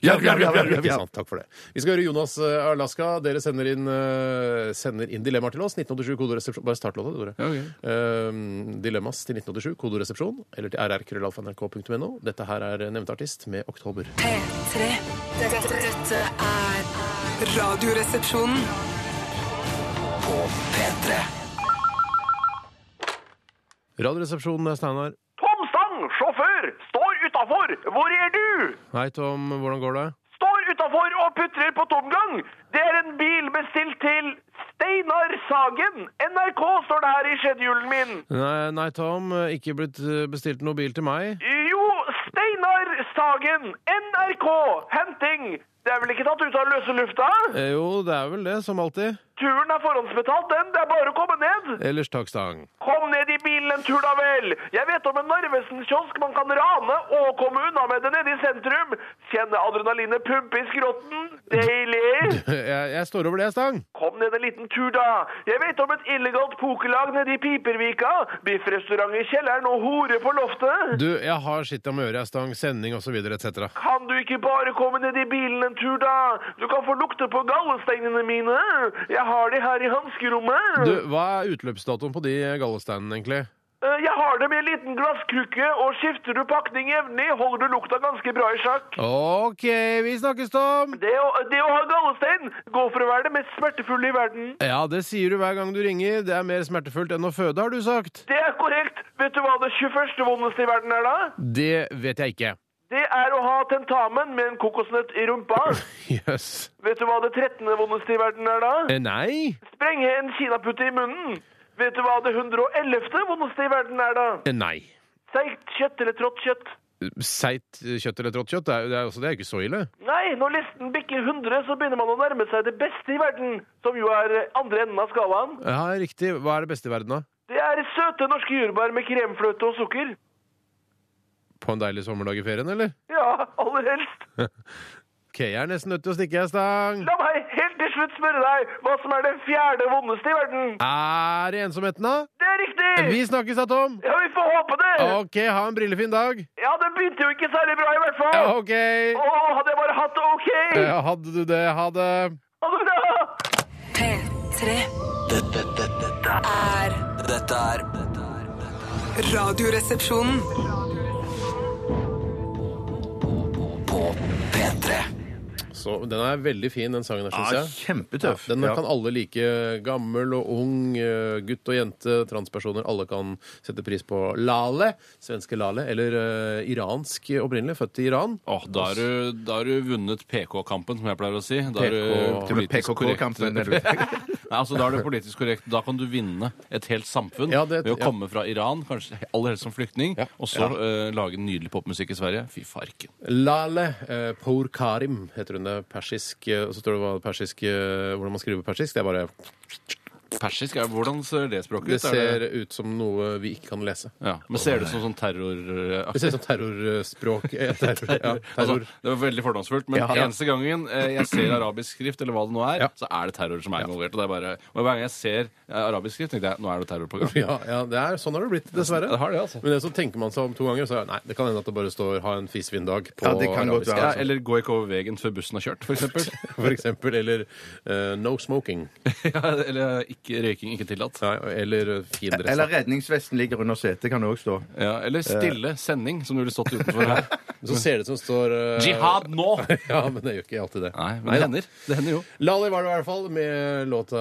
S4: Ja, ja, ja, ja, ja,
S3: Ikke
S4: ja.
S3: sant. Takk for det. Vi skal høre Jonas eh, Alaska. Dere sender inn, eh, sender inn dilemmaer til oss. 1987 kodoresepsjon. Bare start låta, du, Tore.
S5: Ja, ok.
S3: Eh, dilemmas til 1987 kodoresepsjon eller til rrkrøllalfa.nrk.no. Dette her er nevnte artist med Oktober.
S1: P3. Dette, dette er Radioresepsjonen.
S2: På P3.
S3: Radioresepsjonen er Steinar.
S7: Tom Stang, sjåfør, står utafor. Hvor er du?
S3: Hei, Tom. Hvordan går det?
S7: Står utafor og putrer på tomgang. Det er en bil bestilt til Steinar Sagen. NRK står det her i skjedehjulen min.
S3: Nei, nei, Tom. Ikke blitt eh, bestilt noe bil til meg.
S7: Jo, Steinar Sagen. NRK. Henting. Det er vel ikke tatt ut av løse lufta?
S3: Eh, Jo, det er vel det, som alltid.
S7: Turen er forhåndsbetalt, den. Det er bare å komme ned.
S3: Ellers takk, Stang.
S7: Kom ned i bilen en tur, da vel. Jeg vet om en Narvesen-kiosk man kan rane og komme unna med det nede i sentrum. Kjenne adrenalinet pumpe i skrotten. Deilig!
S3: Jeg, jeg står over det, Stang.
S7: Kom ned en liten tur, da. Jeg vet om et illegalt pokerlag nede i Pipervika. Biffrestaurant i kjelleren og hore på loftet.
S3: Du, jeg har skitt om øret, Stang, sending osv. etc.
S7: Kan du ikke bare komme ned i bilen en tur, da? Du kan få lukte på gallesteinene mine. Jeg har de her i hanskerommet.
S3: Du, hva er utløpsdatoen på de gallesteinene, egentlig?
S7: Eh, Jeg har det med en liten glasskrukke, og skifter du pakning jevnlig, holder du lukta ganske bra i sjakk.
S3: OK, vi snakkes, Tom!
S7: Det å, det å ha gallestein går for å være det mest smertefulle i verden.
S3: Ja, det sier du hver gang du ringer. Det er mer smertefullt enn å føde, har du sagt.
S7: Det er korrekt. Vet du hva det 21. vondeste i verden er da?
S3: Det vet jeg ikke.
S7: Det er å ha tentamen med en kokosnøtt i rumpa.
S3: Jøss.
S7: Vet du hva det 13. vondeste i verden er da?
S3: Eh, Nei.
S7: Sprenge en kinaputte i munnen. Vet du hva det 111. vondeste i verden er da?
S3: Eh, Nei.
S7: Seigt kjøtt eller trått kjøtt?
S3: Seigt kjøtt eller trått kjøtt, det er, det er, også, det er ikke så ille.
S7: Nei, når listen bikker 100, så begynner man å nærme seg det beste i verden, som jo er andre enden av skalaen.
S3: Ja, Riktig. Hva er det beste i verden, da?
S7: Det er søte norske jordbær med kremfløte og sukker.
S3: På en deilig sommerdag i ferien, eller?
S7: Ja, aller helst.
S3: OK, jeg er nesten nødt til å stikke, jeg, Stang.
S7: La meg helt til slutt spørre deg hva som er det fjerde vondeste i verden.
S3: Er det ensomheten, da?
S7: Det er riktig!
S3: Vi snakkes da, Tom.
S7: Ja, vi får håpe det!
S3: OK, ha en brillefin dag.
S7: Ja, det begynte jo ikke særlig bra i hvert fall.
S3: Ja, OK.
S7: Å, hadde jeg bare hatt det ok!
S3: Eh, Hadde du det? Ha det.
S7: Ha det bra!
S1: P3.
S2: Dette, dette, dette
S1: Er
S2: er- dette er dette er-
S1: Radioresepsjonen.
S2: På P3
S3: Så, den er veldig fin, den sangen her, syns
S4: Ja,
S3: jeg.
S4: kjempetøff.
S3: Den
S4: Ja.
S3: kan alle like. Gammel og ung, eh, gutt og jente, transpersoner. Alle kan sette pris på Lale. Svenske Lale, eller eh, iransk opprinnelig, født i Iran.
S5: Åh, da har du, da har du vunnet PK-kampen, som jeg pleier å si. Da
S3: PK
S5: er du
S4: Til og med
S5: politisk korrekt.
S4: PKK-kampen. er det-
S5: Nei, altså, da er du politisk korrekt. Da kan du vinne et helt samfunn
S3: Ja, det-
S5: ved å
S3: ja.
S5: komme fra Iran, kanskje aller helst som flyktning,
S3: Ja.
S5: og så eh, lage nydelig popmusikk i Sverige. Fy farken.
S3: Lale eh, Pour Karim heter hun det. Persisk eh, Og så står det hva persisk eh, hvordan man skriver persisk. Det er bare
S5: Persisk er Hvordan ser det språket
S3: Det
S5: ut? Er
S3: ser ut som noe vi ikke kan lese.
S5: ja. Men ser det ut som sånn terror...
S3: Det ser ut som terrorspråk. eh, Terror, ja, terror.
S5: Altså, det var veldig fordomsfullt, men
S3: Ja.
S5: eneste gangen eh, jeg ser arabisk skrift, eller hva det nå er,
S3: Ja.
S5: så er det terror som er involvert. Og, det er bare, og hver gang jeg ser eh, arabisk skrift, tenker jeg nå er det terror på gang.
S3: Ja, ja det er, sånn har det blitt, dessverre.
S5: Det har det, altså.
S3: Men det, så tenker man seg om to ganger, så er det- nei, det kan hende at det bare står 'ha en fisefin dag' på
S4: Ja, det kan godt
S3: arabisk.
S4: være.
S5: Ja, eller gå ikke over veien før bussen har kjørt, for eksempel.
S3: For eksempel. Eller eh, 'no smoking'.
S5: ja, eller eh, ikke, røyking ikke tillatt.
S3: Nei, eller eh, 'fin dress'.
S4: Eller redningsvesten ligger under setet, kan det òg stå.
S5: Ja, eller stille sending, som du ville stått utenfor her.
S3: Så ser det ut som det står eh,
S5: Jihad nå!
S3: Ja, men det gjør ikke alltid det.
S5: Nei, men det
S3: da.
S5: hender. Det hender jo.
S3: Lali var det i hvert fall, med låta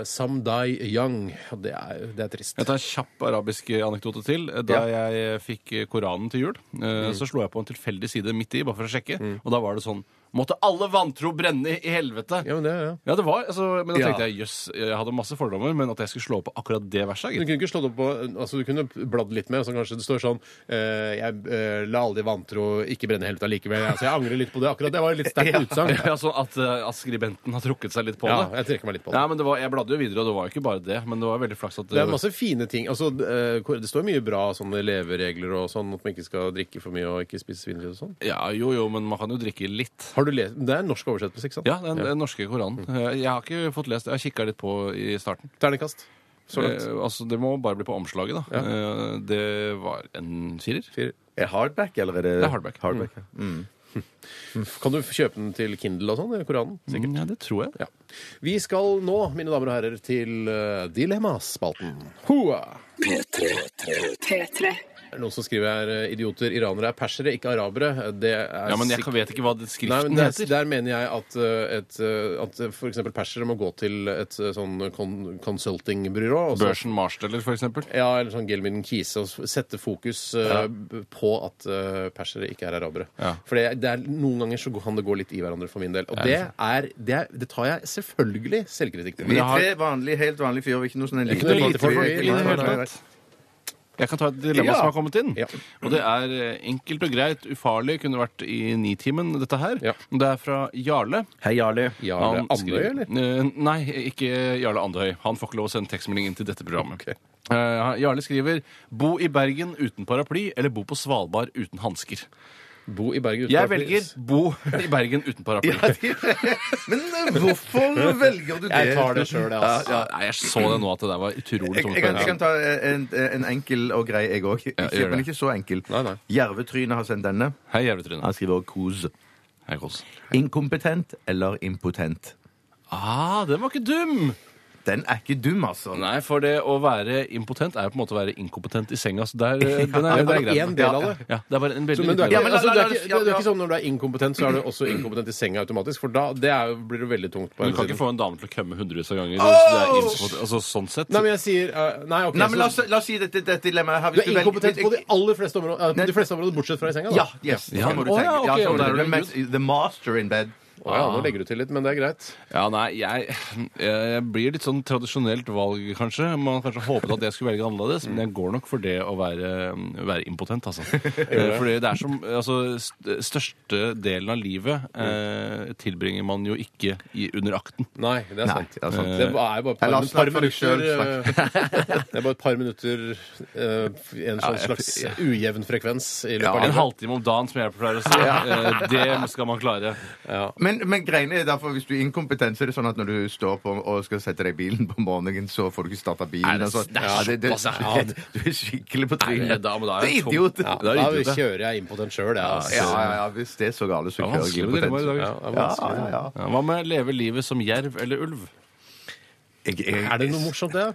S3: eh, 'Some Die Young'. Og det er, det er trist.
S5: Jeg tar en kjapp arabisk eh, anekdote til. Da jeg eh, fikk Koranen til jul, eh, så slo jeg på en tilfeldig side midt i, bare for å sjekke, og da var det sånn Måtte alle vantro brenne i helvete!
S3: Ja, men det, ja.
S5: Ja, det var, altså, men da
S4: Ja.
S5: tenkte jeg jøss, jeg hadde masse fordommer, men at jeg skulle slå på akkurat det
S3: Du
S5: verset gitt.
S3: kunne ikke slått opp på altså Du kunne bladd litt mer, så kanskje det står sånn eh, Jeg eh, la aldri vantro ikke brenne helt allikevel. Altså, jeg angrer litt på det. Akkurat det var et litt sterkt utsagn.
S5: Ja, så at, eh, at skribenten har trukket seg litt på
S3: Ja,
S5: det.
S3: jeg trekker meg litt på det.
S5: Ja, men det var, Jeg bladde jo videre, og det var jo ikke bare det. Men det var veldig flaks at
S3: Det er masse fine ting. Altså, eh, hvor- det står mye bra sånne leveregler og sånn, at man ikke skal drikke for mye og ikke spise svinekjøtt og sånn.
S5: Ja, Jo, jo, men man kan jo drikke litt.
S3: Har du lest, Det er en norsk oversettelse, ikke sant?
S5: Ja, den, den
S3: Mm.
S5: norske koranen. Eh, Jeg har ikke fått lest det. Jeg kikka litt på i starten.
S3: Ternekast. Så langt.
S5: Eh, altså, Det må bare bli på omslaget, da. Eh, det var en firer.
S3: Fire.
S4: Er hardback, eller er det
S5: Det er hardback.
S4: ja.
S3: Kan du f- kjøpe den til Kindle og sånn? eller Koranen? Sikkert.
S5: Mm, Ja, det tror jeg.
S3: Ja. Vi skal nå, mine damer og herrer, til eh, Dilemmaspalten. Hoa!
S1: P3.
S3: Er det noen som skriver her eh, idioter, iranere er persere, ikke arabere? Det er
S5: Ja, Men jeg
S3: sikk-
S5: vet ikke hva det skriften
S3: Nei, men der,
S5: heter.
S3: der mener jeg at, eh, et, eh, at f.eks. persere må gå til et eh, sånn kon consultingbyrå. og så-
S5: Børsen Marsteller, for eksempel.
S3: Ja, eller sånn Gelmin Kise. Og s- sette fokus eh, b- på at eh, persere ikke er arabere.
S5: Ja.
S3: For det, det er, noen ganger så kan det gå litt i hverandre for min del. Og det, er, det, er, det tar jeg selvfølgelig selvkritikk på.
S4: Vi
S5: liksom. jeg
S4: er
S5: har-
S4: tre vanlige, helt vanlige fyrer. Ikke noe sånn en
S3: Ikke
S4: liten
S3: noe lite
S4: folk,
S3: folk,
S4: vi er
S3: vi-
S4: ikke
S5: I det
S4: noe
S5: hele
S4: sånn- Nei, nei,
S5: tatt. Jeg kan ta et dilemma
S4: Ja.
S5: som har kommet inn.
S3: Ja.
S5: Og det er eh, enkelt og greit, ufarlig, kunne vært i Nitimen, dette her.
S3: Ja.
S5: Det er fra Jarle.
S4: nei. Hei, Jarle.
S3: Ja,
S5: Han
S3: Andøy,
S5: skriver-
S3: eller?
S5: Eh, Nei, ikke Jarle Andøy. Han får ikke lov å sende tekstmelding inn til dette programmet.
S3: Ok.
S5: Eh, Jarle skriver 'Bo i Bergen uten paraply eller bo på Svalbard uten hansker'.
S3: Bo i Bergen uten
S4: Jeg
S3: paraply.
S4: velger-
S5: Bo i Bergen uten paraply.
S4: Ja, de- Men eh, hvorfor velger du det?
S3: Jeg tar det sjøl, jeg,
S4: Ja,
S3: altså.
S4: ja.
S5: Ja, Nei, jeg så det nå at det der var utrolig
S4: Jeg,
S5: tungt.
S4: jeg, kan, jeg kan ta eh, en, en enkel og grei, jeg òg.
S5: Ja, gjør det.
S4: Men ikke så enkel.
S3: Nei, nei.
S4: Jervetryne har sendt denne.
S5: Hei, Jervetryne.
S4: Han skriver også kos.
S5: Hei, Kåss.
S4: Inkompetent eller impotent?
S5: Ah, den var ikke dum!
S4: Den er ikke dum, altså.
S5: Nei, for det å være impotent er jo på en måte å være inkompetent i senga. Så der, eh,
S3: Det
S5: den er,
S3: er
S5: den
S3: bare
S5: er grei.
S3: én del av det.
S5: Ja, det er bare en
S3: Så,
S5: veldig
S3: men du er, ikke,
S4: Ja, men la-
S3: altså,
S4: la-
S3: du, er
S4: la-
S3: ikke,
S4: ja,
S3: det er
S4: ja.
S3: ikke sånn når du er inkompetent, så er du også inkompetent i senga automatisk. For da det er, jo- blir det veldig tungt. på
S5: Du
S3: den
S5: kan ikke
S3: siden.
S5: få en dame til å kømme hundrevis av ganger. så det er inkompetent. altså, sånn sett.
S3: Nei, men jeg sier eh, Nei, ok.
S4: Nei, men
S3: så-
S4: la oss, la oss si dette, dette dilemmaet her.
S3: du
S4: Hvis
S3: er inkompetent på de
S4: velger-
S3: aller fleste områder, eh, på de fleste områder bortsett fra i senga, da.
S4: Ja, yes,
S5: Ja.
S4: sånn må du
S5: Å,
S4: tenke.
S5: ja, ok,
S4: Ja, sånn
S5: og der
S4: må
S5: er
S4: du-
S5: du
S4: men- The master in bed.
S3: Å ja, nå legger du til litt, men det er greit.
S5: Ja, nei, jeg, jeg blir litt sånn tradisjonelt valg, kanskje. Man hadde kanskje håpet at jeg skulle velge annerledes, men jeg går nok for det å være, mm, være impotent, altså. Eh, Fordi det er som altså, st- Største delen av livet eh, tilbringer man jo ikke i, under akten.
S3: Nei, det er
S4: Nei,
S3: sant.
S4: det er sant.
S3: Det er bare et par,
S4: Eller,
S3: et par
S4: snakk for deg
S3: minutter
S4: selv,
S3: eh, Det er bare et par minutter eh, En sånn
S5: jeg-
S3: slags ujevn frekvens i løpet
S4: Ja,
S3: av
S5: En
S3: livet.
S5: halvtime om dagen, som jeg pleier å si. Eh, Det skal man klare.
S4: Men, men greiene er derfor, hvis du er inkompetent, så er det sånn at når du står på og skal sette deg i bilen på morgenen, så får du ikke starta bilen.
S5: Nei, det-
S4: og sånn.
S5: det er
S4: Ja,
S5: såpass,
S4: det, du er skikkelig på
S5: Nei,
S4: trynet.
S5: men da- men da er
S4: det er
S5: jeg tom.
S4: idiot.
S3: Ja,
S4: Ja,
S3: da
S5: det er
S3: kjører jeg impotent sjøl, jeg. Altså.
S4: ja, ja, hvis det er så gale, så
S5: Det er
S4: kjører jeg
S5: vanskelig med dilemmaer
S4: impotent.
S5: i dag.
S3: Ja, det er
S4: Ja,
S3: vanskelig.
S4: ja, ja.
S5: Ja, Hva med leve livet som jerv eller ulv?
S4: Jeg, jeg,
S3: Er det noe morsomt, det?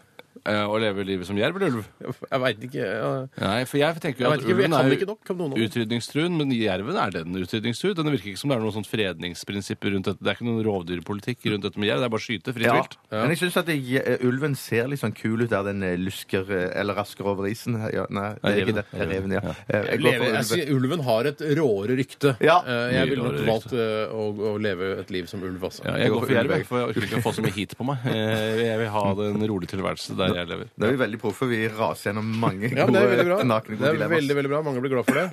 S5: Eh, Å leve livet som jerv eller ulv?
S3: Jeg veit ikke. ja.
S5: Nei, for jeg tenker jo
S3: Jeg
S5: at
S3: vet ikke, jeg
S5: ulven
S3: kan
S5: er
S3: ikke nok om noen av dem.
S5: utrydningstruen, men jerven er den utrydningstruen. Den virker ikke som det er noen sånn fredningsprinsipper rundt dette. Det er ikke noen rovdyrpolitikk rundt dette med jerv. Det er bare å skyte fritt
S4: ja.
S5: vilt.
S4: Men jeg syns at jeg, eh, ulven ser litt sånn kul ut der den eh, lusker eh, eller rasker over isen. Ja, nei, det er ikke
S5: reven,
S4: det. Det er Reven, ja. Eh, Jeg går
S3: Leve,
S4: for
S3: jeg
S4: ulven.
S3: sier, ulven har et råere rykte.
S4: Ja.
S3: Eh, jeg
S5: Mye
S3: ville nok
S5: råere
S3: valgt eh, å, å leve et liv som ulv, altså.
S5: Ja, jeg går for
S4: ulv,
S5: jerv,
S4: jeg.
S5: jeg, for jeg orker ikke å få så mye heat på meg. Eh, Jeg vil ha den rolige tilværelse der jeg lever.
S4: Da er vi veldig proffe. Vi raser gjennom mange
S3: Ja, men det er veldig bra.
S4: gode nakne
S3: Det
S4: gode
S3: er veldig,
S4: dilemmaer.
S3: veldig bra. Mange blir glad for det.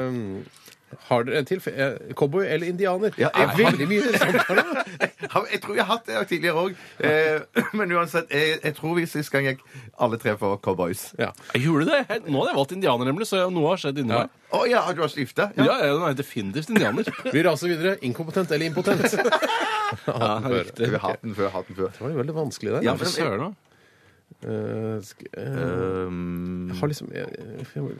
S3: Eh, har dere en til? Eh, Cowboy eller indianer?
S4: Ja,
S3: det er veldig mye interessant for det.
S4: Ja, Jeg tror jeg har hatt det tidligere òg, eh, men uansett jeg, jeg tror vi sist gang gikk alle tre for cowboys.
S3: Ja.
S5: Jeg gjorde det! Jeg- Nå hadde jeg valgt indianer, nemlig, så noe har skjedd inni
S3: Ja.
S5: meg.
S4: Å ja, du har skifta?
S5: Ja, jeg er definitivt indianer.
S3: Vi raser videre. Inkompetent eller impotent? Det
S5: Ja, riktig.
S4: Vi har hatt den før, hatt den før.
S3: var jo veldig vanskelig der.
S4: Ja,
S5: Ja, for søren òg.
S3: Eh, sk- eh, jeg har liksom jeg, jeg, jeg,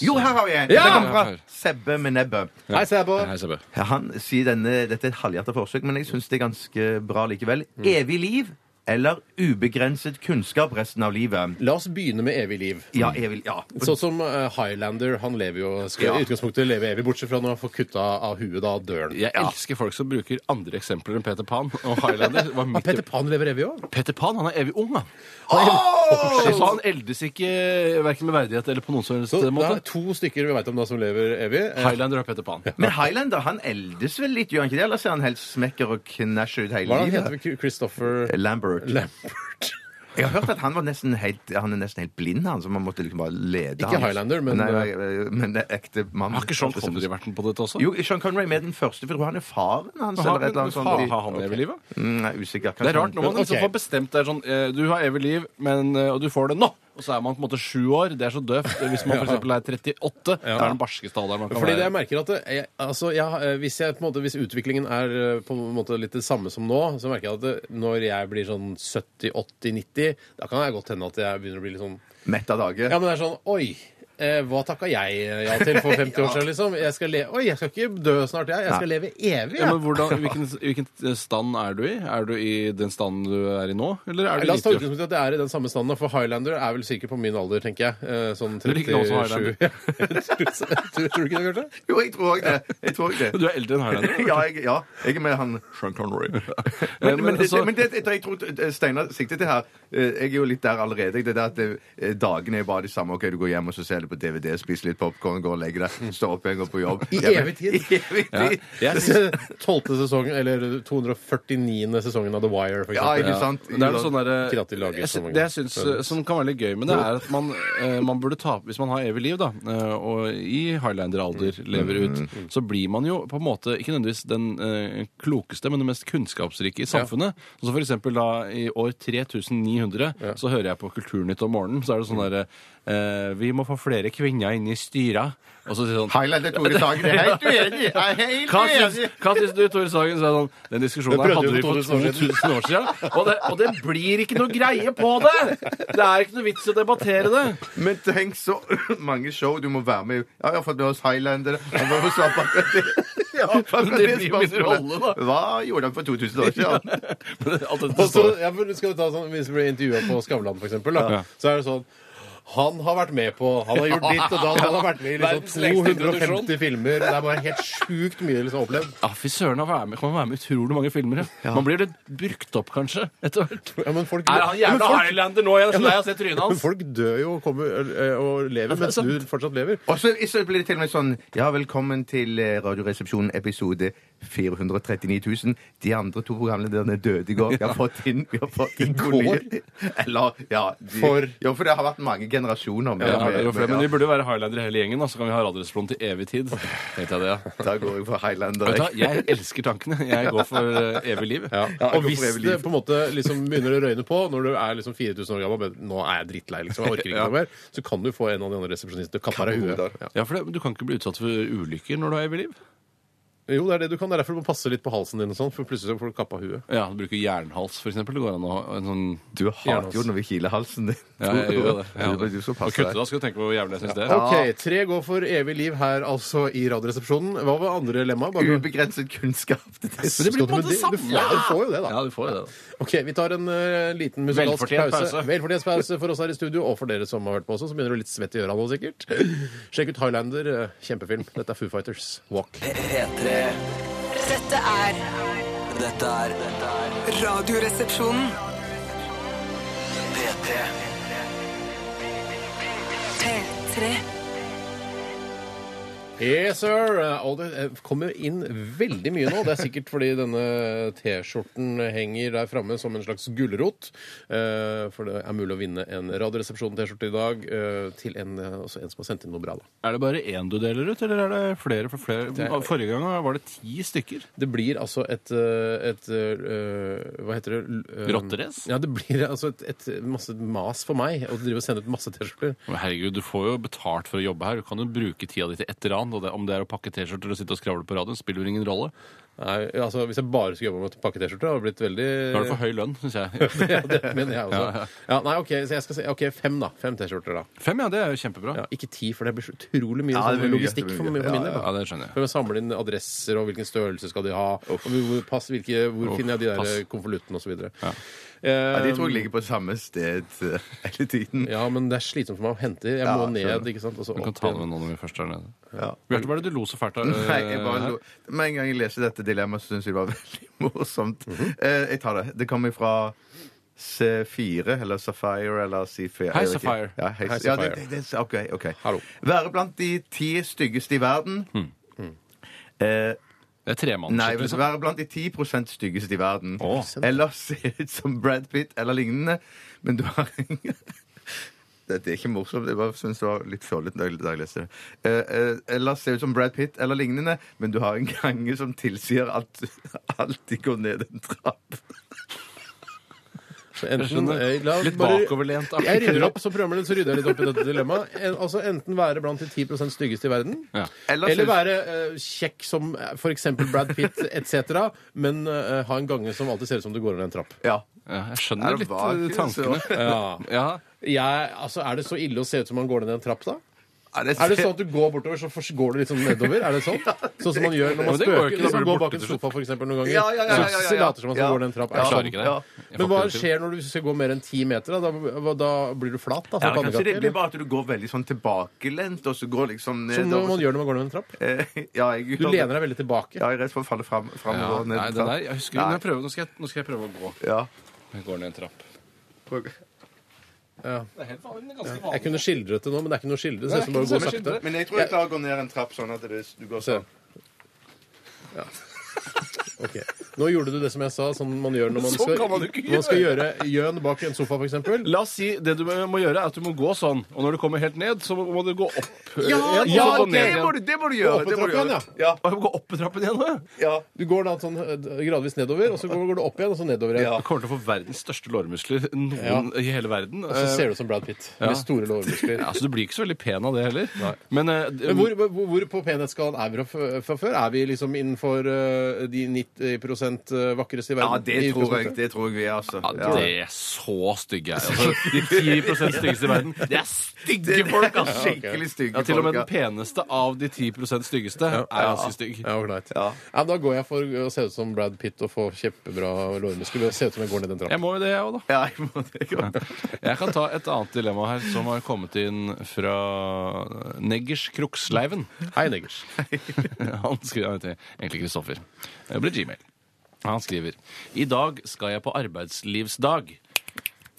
S4: Jo, her har vi en!
S3: Ja!
S4: Det kommer fra Sebbe med nebbet.
S3: Hei, Sæbo!
S5: Hei, Sebbe.
S4: Ja, Han sier denne, Dette er et halvhjerta forsøk, men jeg syns det er ganske bra likevel.
S3: Mm.
S4: Evig liv eller ubegrenset kunnskap resten av livet?
S3: La oss begynne med evig liv.
S4: Ja, evig Ja.
S3: Sånn som eh, Highlander, han lever jo skal
S4: Ja.
S3: i utgangspunktet leve evig, bortsett fra når han får kutta av huet da av døren.
S5: Jeg elsker folk som bruker andre eksempler enn Peter Pan og Highlander. Det var
S3: Ja,
S5: mitt-
S3: Ah, Peter Pan lever evig òg?
S5: Peter Pan han er evig ung, han.
S4: Åh!
S5: Så han eldes ikke verken med verdighet eller på noen som helst
S3: Så det
S5: måte.
S3: er to stykker vi veit om da som lever evig. Eh,
S5: Highlander og Peter Pan.
S4: Men Highlander han eldes vel litt, gjør han ikke det? Eller ser han helt smekker og knæsjer ut
S3: Hva
S4: hele
S3: er det han
S4: livet?
S3: heter? Christopher
S4: Lambert.
S3: Lambert.
S4: Jeg har hørt at han var nesten helt, han er nesten helt blind, han, så man måtte liksom bare lede
S3: Ikke
S4: han.
S3: Highlander, men-
S4: Nei, nei, men det er ekte mann.
S5: eh, Har ikke Sean Connery-verten på dette også?
S4: Jo, Sean Connery er med den første, for jeg tror han er faren hans.
S5: Har,
S4: eller et eller annet sånt.
S5: har, har han evig liv? da?
S4: Mm, Nei, usikker. Kanskje
S5: Det er rart når man
S3: sånn- Ok.
S5: liksom får bestemt det er sånn eh, Du har evig liv, men, eh, og du får det nå! Og så er man på en måte sju år. Det er så døvt. Hvis man f.eks. er 38, det er den barskeste alderen man kan
S3: Fordi det jeg
S5: være.
S3: merker at det, jeg, altså jeg, eh, hvis, jeg, på en måte, hvis utviklingen er eh, på en måte litt det samme som nå, så merker jeg at det, når jeg blir sånn 70-80-90, da kan jeg godt hende at jeg begynner å bli litt sånn
S4: han- Mett av dage.
S3: Ja, men det er sånn Oi! Eh, hva takka jeg ja til for 50 år siden, liksom? Jeg skal le Oi, jeg skal ikke dø snart, jeg. Jeg skal leve evig.
S5: Ja,
S3: jeg.
S5: men hvordan, i hvilken, i hvilken stand er du i? Er du i den standen du er i nå, eller er du
S3: La oss ta
S5: 90 år?
S3: utgangspunkt i at det er i den samme standen, da, for Highlander er vel sikkert på min alder, tenker jeg. Eh, Sånn
S5: er like gammel som
S3: 37. Ja, tror, tror, tror du ikke det, kanskje?
S4: Jo, jeg tror òg det. Jeg tror også det.
S5: Du er eldre enn Highlander.
S4: Ja, jeg, ja, jeg er med han
S5: Sean Connery.
S4: Men, men, det, men det, det jeg tror Steinar sikter til her eh, Jeg er jo litt der allerede. Det er det at eh, dagene er bare de samme. Ok, Du går hjem og så ser du på DVD, spiser litt popkorn, går og legger deg, står opp igjen, går på jobb.
S3: I
S4: Ja, men-
S3: evig tid.
S4: I evig tid.
S3: Jeg synes 12. sesongen, eller 249. sesongen av The Wire, for
S4: Ja,
S3: eksempel.
S4: ikke sant?
S5: Det er noe sånn
S3: Ikke at de
S5: der,
S3: lager
S5: jeg,
S3: så
S5: sy-
S3: mange
S5: det jeg syns eh, som kan være litt gøy med det, er at man, eh, man burde ta Hvis man har evig liv, da, eh, og i highlander-alder
S3: Mm.
S5: lever ut, så blir man jo på en måte ikke nødvendigvis den eh, klokeste, men den mest kunnskapsrike i samfunnet. Så for eksempel da i
S3: Mm.
S5: år 3900 så hører jeg på Kulturnytt om morgenen, så er det sånn derre eh, Vi må få flere flere kvinner inne i styra. Og så sier sånn
S4: Highlighter Tore Sagen. Jeg er helt uenig! Jeg er helt
S5: Hva
S4: uenig!
S5: syns, hva syns du, Tore Sagen? Så er det sånn, den diskusjonen
S3: Det
S5: her
S3: prøvde
S5: hadde vi
S3: vi
S5: for
S3: for 2000 år
S5: 2000 år siden. Og det, og det blir ikke noe greie på det! Det er ikke noe vits i å debattere det.
S4: Men tenk så mange show du må være med i. Ja, jeg har fått med oss Highlander. Han var hos akkurat det. Ja, akkurat
S5: Men det blir jo min
S4: spørsmålet.
S5: rolle, da.
S4: Hva gjorde han for 2000 år siden?
S5: Alt dette
S3: Og så,
S5: står
S3: ja, for skal vi ta sånn, Hvis vi blir intervjua på Skavlan, for eksempel, da,
S5: Ja.
S3: så er det sånn han har vært med på Han har gjort ditt og datt. Han har vært med i
S5: Verdens
S3: liksom
S5: lengste
S3: 250 filmer. Det er bare helt sjukt mye liksom opplevd.
S5: Ja, fy søren, han være med- kan være med i utrolig mange filmer. Ja. Man blir litt brukt opp, kanskje, etter hvert.
S3: Ja, men folk,
S5: Er han
S3: Ja, men
S5: jævla
S3: folk-
S5: highlander nå? Jeg er så lei av å se trynet
S3: men
S5: hans.
S3: folk dør jo og, kommer, ø, ø, og lever mens
S5: sant.
S3: du fortsatt lever.
S4: Og så så blir det til og med sånn Ja, velkommen til eh, Radioresepsjonen episode 439 000. De andre to programlederne døde i går. Vi har fått inn, vi har fått inn to
S3: går?
S4: nye. Eller ja. De,
S3: For-
S4: Jo, for det har vært mange generasjoner. med-
S5: Ja, det er jo
S4: med-
S5: flere,
S4: med-
S5: men vi burde jo være highlander hele gjengen, da, så kan vi ha Radioresepsjon til evig tid. Tenkte jeg det, ja.
S4: Da går jeg for Highlander.
S5: Vet du hva,
S4: jeg.
S5: jeg elsker tankene. Jeg går for eh, evig liv.
S4: Ja, jeg
S3: og
S4: går
S3: hvis
S4: for evig
S3: det
S4: liv.
S3: på en måte liksom begynner å røyne på, når du er liksom 4000 år gammel, men nå er jeg drittlei, liksom, jeg orker ikke noe mer, så kan du få en av de andre resepsjonistene til å kappe deg i
S4: Kappe
S3: huet.
S4: hodet.
S3: Ja.
S5: Ja, for det, Du kan ikke bli utsatt for ulykker når du har evig liv.
S3: Jo, det er det du kan. Det er derfor du må passe litt på halsen din, og sånn, for plutselig så får du kappa huet.
S5: Ja, du Bruker jernhals, for eksempel. Det går an å ha en sånn
S4: Du hater jo når vi kiler halsen din.
S5: Ja, jeg gjør det. Ja.
S4: Du, du skal
S5: Å
S4: passe
S5: kutte
S4: deg.
S5: da, skal du tenke på hvor jævlig jeg syns det er.
S3: Ok, tre går for evig liv her altså i Radioresepsjonen. Hva var andre lemma? Bare...
S4: Ubegrenset kunnskap.
S3: Men det blir på en måte samme! Du får, du får jo det, da.
S5: Ja, du får jo det. da.
S3: Ok, Vi tar en eh, liten musikalsk
S5: Velfortjent
S3: pause.
S5: pause.
S3: Velfortjent pause for oss her i studio, og for dere som har hørt på også, så begynner du litt svett i øra nå, sikkert. Sjekk ut Highlander. eh, Kjempefilm. Dette er Foo Fighters. Walk.
S2: P3.
S6: Dette er
S2: Dette er dette er
S6: Radioresepsjonen.
S2: P3.
S6: P3.
S3: Yes, sir! Og det eh, kommer inn veldig mye nå. Det er sikkert fordi denne T-skjorten henger der framme som en slags gulrot. Eh, For det er mulig å vinne en Radioresepsjonen-T-skjorte i dag eh, til en, eh, også en som har sendt inn noe bra. da.
S5: Er det bare én du deler ut, eller er det flere for flere? Forrige gang var det ti stykker.
S3: Det blir altså et, eh, et eh, Hva heter det? L- eh,
S5: Rotterace?
S3: Ja, det blir altså et, et masse mas for meg å drive og sende ut masse T-skjorter.
S5: Men herregud, du får jo betalt for å jobbe her. Du kan jo bruke tida di til ett eller annet. og det- Om det er å pakke T-skjorter og sitte og skravle på radioen, spiller jo ingen rolle.
S3: Nei, altså, Hvis jeg bare skulle jobbe med å pakke T-skjorter, hadde det blitt veldig
S5: Da er det for høy lønn, syns jeg.
S3: ja, det mener jeg også. Ja,
S5: Ja, ja.
S3: nei, ok, så jeg skal si ok, fem, da. Fem T-skjorter, da.
S5: Fem, ja. Det er jo kjempebra.
S3: Ja, ikke ti, for det blir så utrolig mye
S4: Ja, det blir
S3: sånn
S4: mye,
S3: logistikk
S4: det blir
S3: for min
S4: mye.
S3: for min del.
S5: Ja,
S3: da.
S5: det skjønner jeg.
S3: For å samle inn adresser og hvilken størrelse skal de ha. Og hvor, pass, hvilke, hvor
S5: Uff,
S3: finner jeg de der eh,
S5: pass.
S3: konvoluttene osv. Ja.
S4: Ja, de tror jeg ligger på samme sted eh, hele tiden.
S3: Eh, ja, men det er slitsomt for meg å hente. Jeg
S4: Ja,
S3: må
S4: skjønner.
S3: ned. ikke sant? Og så
S5: Du kan
S3: opp
S5: ta det
S3: igjen.
S5: med noen når vi først er nede.
S4: Ja.
S5: Bjarte, hva er det du lo så fælt av?
S4: Nei, jeg bare
S5: eh,
S4: lo. Med en gang jeg leser dette dilemmaet, syns jeg det var veldig morsomt. Eh, Jeg tar det. Det kommer fra C4, eller Sapphire, eller C4
S5: Hei,
S4: jeg vet ikke.
S5: Sapphire.
S4: Ja, hei,
S3: Hei,
S4: ja, det,
S3: Sapphire.
S4: det, det, OK. ok.
S3: Hallo.
S4: Være blant de ti styggeste i verden. Eh,
S5: Det er
S4: Nei,
S5: tremannsskitt,
S4: men
S5: liksom.
S4: være blant de 10 styggeste i verden.
S5: Åh.
S4: Eller se ut som Brad Pitt eller lignende. Men du har Dette er ikke morsomt. Jeg bare synes det var litt fjollete da jeg- da jeg leste det. Eh, eh, eller se ut som Brad Pitt eller lignende, men du har en gange som tilsier at du alltid går ned en trapp.
S3: Så Enten,
S5: Jeg skjønner.
S3: eh, la,
S5: Litt
S3: bare-
S5: bakoverlent, da.
S3: Jeg rydder opp, så programleder, så rydder jeg litt opp i dette dilemmaet. En, altså Enten være blant de 10 styggeste i verden,
S5: Ja.
S4: Eller
S3: eller,
S4: synes-
S3: være eh, kjekk som eh, for eksempel Brad Pitt etc., men eh, ha en gange som alltid ser ut som du går ned en trapp.
S4: Ja.
S5: Ja, jeg
S4: Er
S5: skjønner
S4: det
S5: litt
S4: bak,
S5: eh,
S4: så?
S5: tankene.
S3: Ja.
S5: Ja,
S3: Jeg, altså, er det så ille å se ut som man går ned en trapp, da?
S4: Er
S3: Er det sånn at du går bortover, så fors- går du litt sånn nedover? Er det sånn? Sånn som man gjør når man
S5: Men det går jo
S3: spøker.
S5: ikke, da
S3: De som
S5: blir
S3: går
S5: du borte
S3: bak en
S5: til slutt.
S3: sofa for eksempel noen ganger.
S4: Ja, ja, ja, ja, ja, ja.
S3: Så later som man
S4: Ja.
S3: skal gå ned en trapp. Er
S4: Jeg
S3: det
S5: klarer ikke det.
S3: sånn? Men
S5: Jeg får
S3: hva
S5: ikke det til.
S3: skjer når du skal gå mer enn ti meter? Da, da, da blir du flat? da, som
S4: Ja, kanskje
S3: pannekake,
S4: det blir
S3: eller?
S4: bare at du går veldig sånn tilbakelent, og så går liksom ned
S3: Som når man gjør når man går ned en trapp.
S4: ja, jeg,
S3: Du lener deg veldig tilbake.
S4: Ja, jeg er redd for å falle fram,
S5: ja.
S4: framover. ned
S5: Nei,
S4: en
S5: det der,
S4: trapp.
S5: jeg husker, nå, prøver, nå, skal jeg, nå skal jeg prøve å gå.
S4: Ja.
S5: Jeg går ned en trapp.
S4: Prøv.
S5: Det er helt vanlig, men det er ganske
S3: Jeg kunne skildret det nå, men det er ikke noe å skildre. Det ser ut som bare å gå sakte.
S4: Men jeg tror jeg sånn. klarer å gå ned en trapp sånn at det, du går
S3: Se.
S4: sånn.
S3: Ok. Nå gjorde du det som jeg sa, som man gjør når man
S5: Sånn
S3: skal,
S5: kan man jo ikke
S3: når man skal gjøre gjøn bak en sofa, f.eks.
S5: La oss si det du må gjøre, er at du må gå sånn. Og når du kommer helt ned, så må du gå opp. Ja,
S3: ja,
S5: så
S3: ok,
S5: ned
S4: Det må
S5: igjen.
S4: du, det må du
S3: Gå
S4: gjøre!
S3: opp
S4: det
S3: i
S4: må du
S3: trappen,
S4: gjøre.
S3: ja.
S5: Å, jeg må Gå opp i trappen igjen nå, jeg.
S3: Du går da sånn eh, gradvis nedover, og så går, går du opp igjen, og så nedover igjen.
S5: Jeg kommer til å få verdens største lårmuskler noen i hele verden.
S3: Og så ser du ut som Brad Pitt
S5: Eh, Ja.
S3: med store lårmuskler.
S5: Ja, så du blir ikke så veldig pen av det heller. Men, eh, d-
S3: Men hvor, hvor, hvor på penhetsskalaen er vi fra- fra før? Er vi liksom innenfor eh, de 90 vakreste i
S4: Ja,
S3: verden?
S4: det tror jeg,
S3: 90%.
S4: det tror jeg vi er, altså.
S5: ja, det er så stygge er jeg. Altså, de 10 styggeste i verden. Det er stygge folk, altså!
S4: Skikkelig stygge
S5: Ja, til og med den
S4: folk. ja.
S5: peneste av de 10 styggeste er ganske stygg.
S3: Ja, ålreit. Ja. men da går jeg for å se ut som Brad Pitt og få kjempebra lårmuskler. og Se ut som jeg går ned den
S5: Jeg
S3: trappen.
S5: må jo det, jeg òg, da.
S4: Ja, jeg må det gå.
S5: Jeg kan ta et annet dilemma her, som har kommet inn fra Neggers Kroksleiven.
S3: Hei, Neggers.
S5: Han skriver, han heter egentlig Kristoffer. Det blir Gmail. Han skriver I dag skal jeg på arbeidslivsdag.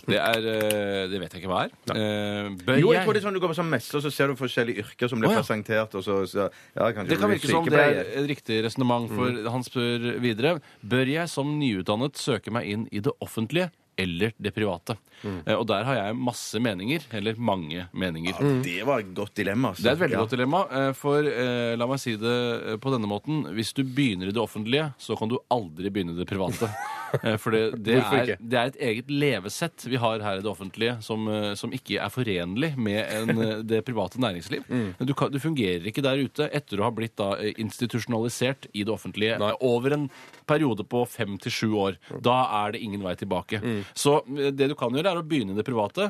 S5: Det er eh, Det vet jeg ikke hva er. Eh, Bør
S4: Jo, jeg tror det
S5: jeg
S4: er sånn du går på sånn messe, og så ser du forskjellige yrker som blir
S5: Å, ja.
S4: presentert, og så, så ja, kanskje
S5: det kan
S4: du blir
S5: virke som det er
S4: sykepleier.
S5: et riktig resonnement, for han spør videre Bør jeg som nyutdannet søke meg inn i det offentlige eller det private? Eh, Og der har jeg masse meninger, eller mange meninger.
S4: Det var et godt dilemma. Altså.
S5: Mm. Det er et veldig
S4: Ja.
S5: godt dilemma, eh, for eh, la meg si det eh, på denne måten. Hvis du begynner i det offentlige, så kan du aldri begynne i det private. Eh, For det, det,
S3: Hvorfor
S5: er,
S3: ikke?
S5: det er et eget levesett vi har her i det offentlige som, eh, som ikke er forenlig med en, eh, det private næringsliv. Du, kan, du fungerer ikke der ute etter å ha blitt da, eh, institusjonalisert i det offentlige over en periode på fem til sju år. Da er det ingen vei tilbake. Så eh, det du kan gjøre, er å begynne i det private.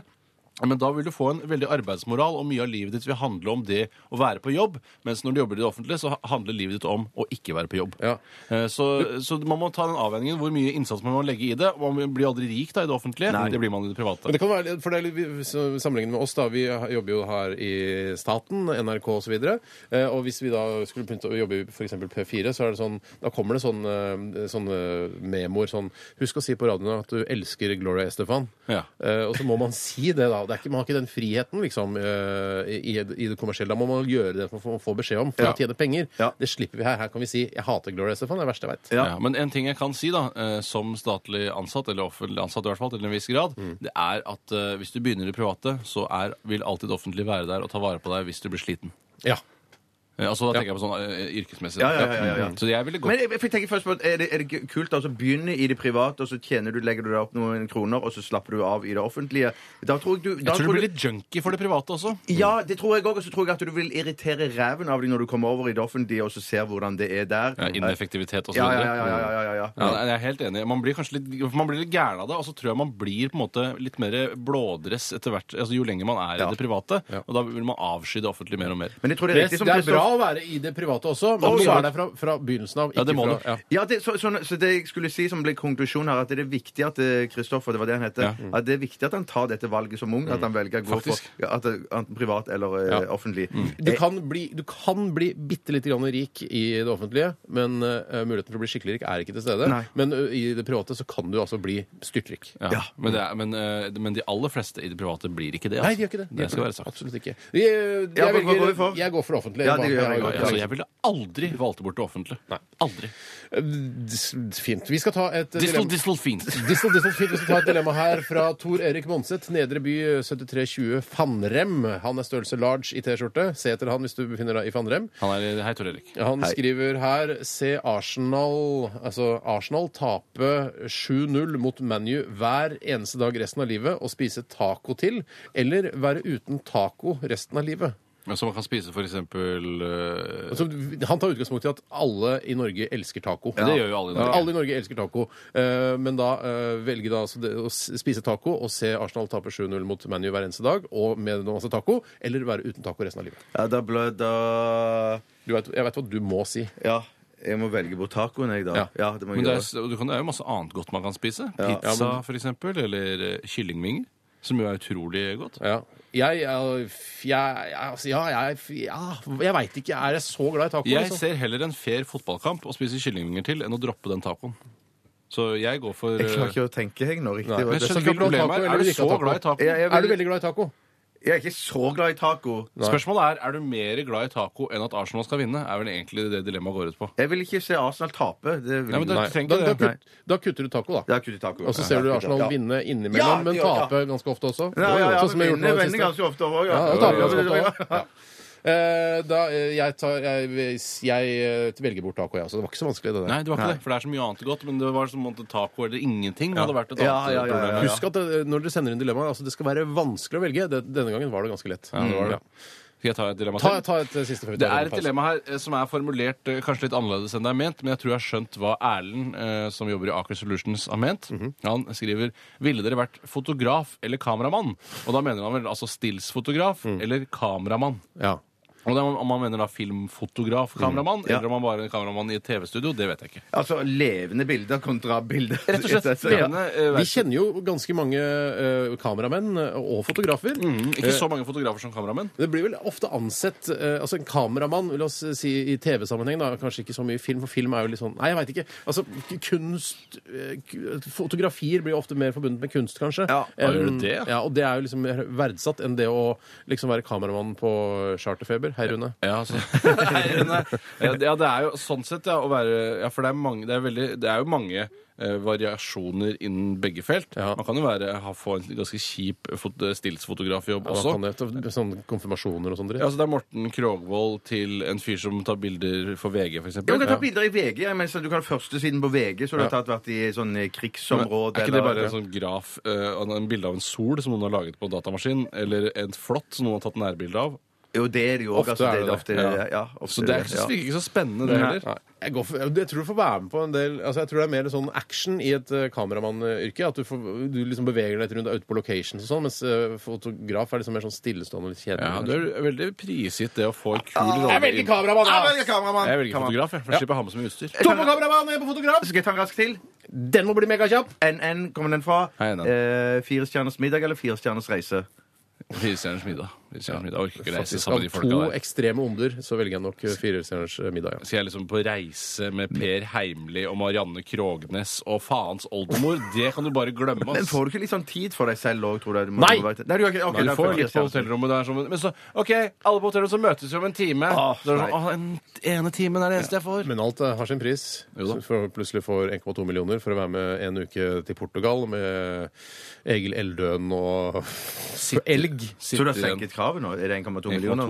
S5: Men da vil du få en veldig arbeidsmoral, og mye av livet ditt vil handle om det å være på jobb. Mens når du jobber i det offentlige, så handler livet ditt om å ikke være på jobb.
S3: Ja.
S5: Eh, Så, så man må ta den avveiningen hvor mye innsats man må legge i det. og Man blir aldri rik da i det offentlige. Det blir man i det private.
S3: Men det kan være, for det er litt, vi- så- Sammenlignet med oss, da, vi jobber jo her i staten, NRK osv. Og, så Eh, og hvis vi da skulle begynne å jobbe i f.eks. P4, så er det sånn, da kommer det sånn, eh, sånne memoer sånn Husk å si på radioen at du elsker Gloria Estefan.
S5: Ja.
S3: Eh, og så må man si det, da. Det er ikke, man har ikke den friheten liksom, eh, i, i det kommersielle. Da må man gjøre det for å få beskjed om for
S4: Ja.
S3: å tjene penger.
S4: Ja.
S3: Det slipper vi her. Her kan vi si 'Jeg hater Gloria Estefan'. Det er det verste jeg veit.
S4: Ja.
S5: Ja, men en ting jeg kan si, da, eh, som statlig ansatt, eller offentlig ansatt i hvert fall, til en viss grad,
S4: Mm.
S5: det er at eh, hvis du begynner i det private, så er, vil alltid det offentlige være der og ta vare på deg hvis du blir sliten.
S3: Ja.
S5: Eh, Altså, da tenker jeg på sånn eh, yrkesmessig.
S4: Ja, ja, ja, ja, ja.
S5: Så jeg ville gått
S4: Men jeg, jeg fikk tenke først på, er det, er det kult altså begynne i det private, og så tjener du, legger du deg opp noen kroner, og så slapper du av i det offentlige? Da tror jeg du, Mm. da
S5: Jeg tror du blir litt junkie for det private også.
S4: Ja, det tror jeg òg. Og så tror jeg at du vil irritere ræven av dem når du kommer over i det offentlige og så ser hvordan det er der.
S5: Ja, Ineffektivitet og så
S4: Ja, ja,
S5: videre.
S4: ja, ja, ja, ja, ja.
S5: Ja, jeg er helt enig. Man blir kanskje litt, man blir litt gæren av det, og så tror jeg man blir på en måte litt mer blådress etter hvert, altså jo lenger man er
S4: Ja.
S5: i det private. Og da vil man avsky det offentlige mer og mer.
S4: Men jeg tror det er
S3: Det,
S4: riktig som
S3: det er
S4: Kristoff-
S3: bra å være i det private også, men
S4: Å,
S3: du må
S4: ja.
S3: være der fra, fra begynnelsen av.
S5: Ja, det må
S3: fra,
S5: du.
S4: Ja, det, så, så, så det jeg skulle si som ble konklusjonen her, at det er viktig at eh, Kristoffer, det var det han heter, at det er viktig at han tar dette valget som ung, at han velger å gå for
S5: Mm. Faktisk. Mm.
S4: ja, at, det- enten privat eller eh, offentlig.
S3: Du kan bli, du kan bli bitte lite grann rik i det offentlige, men eh, muligheten for å bli skikkelig rik er ikke til stede.
S4: Nei.
S3: Men eh, i det private så kan du altså bli styrtrik.
S5: Ja. Men, det er, men, eh, men de aller fleste i det private blir ikke det. altså.
S3: Nei, de gjør ikke det. De
S5: det
S3: gjør
S5: skal være
S3: ikke det.
S5: sagt.
S3: Absolutt ikke. Jeg, jeg,
S4: Ja, hva- hva
S3: velger-
S4: går vi for?
S3: jeg går for det offentlige.
S4: Ja, det gjør jeg
S3: Bare-
S5: Ja,
S4: også.
S5: altså, jeg ville aldri valgt bort det offentlige. Aldri.
S3: Eh, Fint. Vi skal ta et eh,
S5: Distel,
S3: dilemma.
S5: distel, fint.
S3: Distel, distel, fint. Vi skal ta et dilemma her fra Tor Erik Monseth, Nedre by 7320 Fannrem. Han er størrelse large i T-skjorte. Se etter han hvis du befinner deg i Fannrem.
S5: Han er, hei, Tor Erik.
S3: Han skriver her Se Arsenal altså Arsenal tape 7-0 mot ManU hver eneste dag resten av livet og spise taco til, eller være uten taco resten av livet.
S5: Som man kan spise for eksempel eh,
S3: Altså, han tar utgangspunkt i at alle i Norge elsker taco.
S5: Det gjør jo alle i Norge.
S3: Alle i Norge elsker taco, eh, men da eh, velge da altså det, å s- spise taco og se Arsenal tape 7-0 mot ManU hver eneste dag og med noe masse taco, eller være uten taco resten av livet.
S4: Ja, da ble da
S3: Du vet, jeg vet hva du må si.
S4: Ja, jeg må velge bort tacoen, jeg, da.
S3: Ja.
S4: Ja, det må jeg
S5: Men det er,
S4: gjøre.
S5: s- og du kan, det er jo masse annet godt man kan spise. Pizza, for eksempel, eller eh, kyllingvinger. Som jo er utrolig godt.
S3: Ja. Jeg, jeg, jeg, altså, ja, jeg, ja, jeg veit ikke. Er jeg så glad i taco?
S5: Jeg
S3: altså?
S5: ser heller en fair fotballkamp og spiser kyllingvinger til enn å droppe den tacoen. Så jeg går for eh,
S4: Jeg klarer ikke å tenke, jeg, nå. riktig.
S3: Nei,
S4: hva
S5: Men
S4: det-
S5: jeg
S3: Så
S5: skjønner
S3: vil
S5: ikke
S3: du ha taco, eller
S5: problemet er.
S3: vil du ikke
S5: Er du så
S3: ha taco?
S5: glad i taco?
S4: Jeg- jeg
S3: Er du
S4: vil-
S3: veldig glad i taco?
S4: Jeg er ikke så glad i taco.
S5: Spørsmålet er er du mer glad i taco enn at Arsenal skal vinne. er vel egentlig det dilemmaet går ut på.
S4: Jeg vil ikke se Arsenal tape. Det vil
S5: Nei, men
S4: jeg
S5: da
S4: ikke.
S5: trenger
S3: Da, da,
S5: ikke det.
S3: kutt, da kutter du taco,
S4: Det
S3: da.
S4: er kutt i taco.
S3: Og så ser du Arsenal
S4: Ja.
S3: vinne
S4: Ja,
S3: innimellom, men
S4: ja, ja.
S3: tape ganske ofte også.
S4: Ja, ja, ja,
S3: Sånn som jeg
S4: vinner,
S3: har gjort nå i det
S4: vinner
S3: siste.
S4: ganske ofte òg.
S3: Ja, da taper
S5: jo,
S3: jeg altså også godt, da. Ja. Eh, Da, eh, jeg, tar, jeg, hvis jeg eh, velger bort taco, jeg også. Det var ikke så vanskelig, det der.
S5: Nei, det var ikke det. For det er så mye annet godt. Men det var som om taco eller ingenting hadde vært et
S4: Ja, ja,
S5: annet
S4: ja, ja, ja.
S5: problem.
S3: Husk at eh, når dere sender inn dilemmaer, altså det skal være vanskelig å velge. Det, denne gangen var det ganske lett.
S5: Ja, det var det.
S3: Ja.
S5: Skal jeg ta et dilemma
S3: Ta,
S5: til?
S3: ta et eh, siste før vi
S5: Det
S3: tar
S5: er
S3: en
S5: et
S3: pause.
S5: dilemma her eh, som er formulert eh, kanskje litt annerledes enn det er ment, men jeg tror jeg har skjønt hva Erlend, eh, som jobber i Aker Solutions, har ment. Han skriver Ville dere vært fotograf eller kameramann? Og da mener han vel altså stillsfotograf eller kameramann.
S3: Ja.
S5: Og det, er om man mener da filmfotograf, kameramann, eller om man bare er kameramann i et TV-studio, det vet jeg ikke.
S4: Altså levende bilder kontra bilder.
S5: Rett og slett
S4: Ja.
S5: levende eh,
S3: Vi
S5: verk.
S3: kjenner jo ganske mange eh, kameramenn og fotografer.
S5: Mm, Ikke så mange fotografer som kameramenn.
S3: Det blir vel ofte ansett eh, Altså en kameramann, vil oss si i TV-sammenheng, da, kanskje ikke så mye film, for film er jo litt sånn Nei, jeg veit ikke. Altså k- kunst eh, k- Fotografier blir jo ofte mer forbundet med kunst, kanskje.
S4: Ja,
S5: ja, gjør
S3: Enn-
S5: det det?
S3: Ja, og det er jo liksom mer verdsatt enn det å liksom være kameramann på charterfeber. Hei, Rune.
S5: Ja, altså. Nei, nei. ja, det- ja, det er jo sånn sett, ja, å være Ja, for det er, mange, det er, veldig, det er jo mange eh, variasjoner innen begge felt.
S3: Ja.
S5: Man kan jo være, ha, få en ganske kjip fot, stillsfotografjobb
S3: Ja, da
S5: også.
S3: kan det, ta- sånn konfirmasjoner og sånn dritt.
S5: Ja, altså det er Morten Krogvold til en fyr som tar bilder for VG, f.eks.
S4: Ja, du kan ta bilder i VG. Jeg mener, sånn, du kan ha førstesiden på VG, så du har tatt vært i sånn eh, krigsområde
S5: Er ikke det bare en
S4: eller-
S5: sånn graf eh, av en bilde av en sol som noen har laget på en datamaskin, eller en flått som noen har tatt nærbilde av?
S4: Jo, det er det jo også,
S3: Ofte
S4: altså,
S3: er
S4: det er
S3: det
S4: ofte
S5: det.
S4: det. Ja, ofte
S5: Så det er
S4: ja.
S5: det virker ikke så spennende, det heller.
S3: Nei, Jeg, går for, jeg tror du får være med på en del altså Jeg tror det er mer sånn action i et eh, kameramannyrke. At du, får, du liksom beveger deg litt rundt er ute på locations og sånn, mens eh, fotograf er liksom mer sånn stillestående og litt kjedelig.
S5: Ja, Du er veldig prisgitt det å få en kul rolle.
S3: jeg velger
S5: inn-
S3: kameramann!
S4: Ja,
S3: da!
S4: velger kameramann.
S5: Jeg velger
S4: Kameramann.
S5: fotograf, jeg, for jeg slipper å ha med så mye utstyr.
S3: To på kameramann, jeg er på fotograf!
S4: Skal jeg ta en rask til?
S3: Den må bli megakjapp!
S4: NN, kommer den fra?
S5: Hei, NN.
S4: Eh, fire stjerners middag eller Fire stjerners reise?
S5: Firestjerners middag. Firestjerners middag. Jeg orker ikke reise
S3: Faktisk,
S5: sammen
S3: av
S5: med de folka
S3: to
S5: der.
S3: ekstreme onder så velger jeg nok eh, firestjerners eh, middag. Ja.
S5: Skal jeg liksom på reise med Per Heimli og Marianne Krognes og faens oldemor? Det kan du bare glemme.
S4: Men
S5: ass.
S4: får du ikke litt sånn tid for deg selv òg, tror jeg? Du må-
S3: Nei!
S4: du vet- Nei, du gjør ikke det. Ok,
S5: Nei,
S4: da
S5: du
S4: får
S5: får
S4: jeg
S5: litt på
S4: fire stjerner.
S5: hotellrommet der som Men så OK, alle på hotellrommet så møtes vi om en time.
S4: Åh,
S5: Så er det
S4: nei.
S5: sånn, Åh, den ene timen er det eneste jeg får.
S3: Men alt eh, har sin pris.
S5: Jo da.
S3: Så får- plutselig får 1,2 millioner for å være med en uke til Portugal med Egil Eldøen og elg.
S4: Så du har
S5: Sitter igjen
S4: senket kravet nå? Er det 1,2 millioner?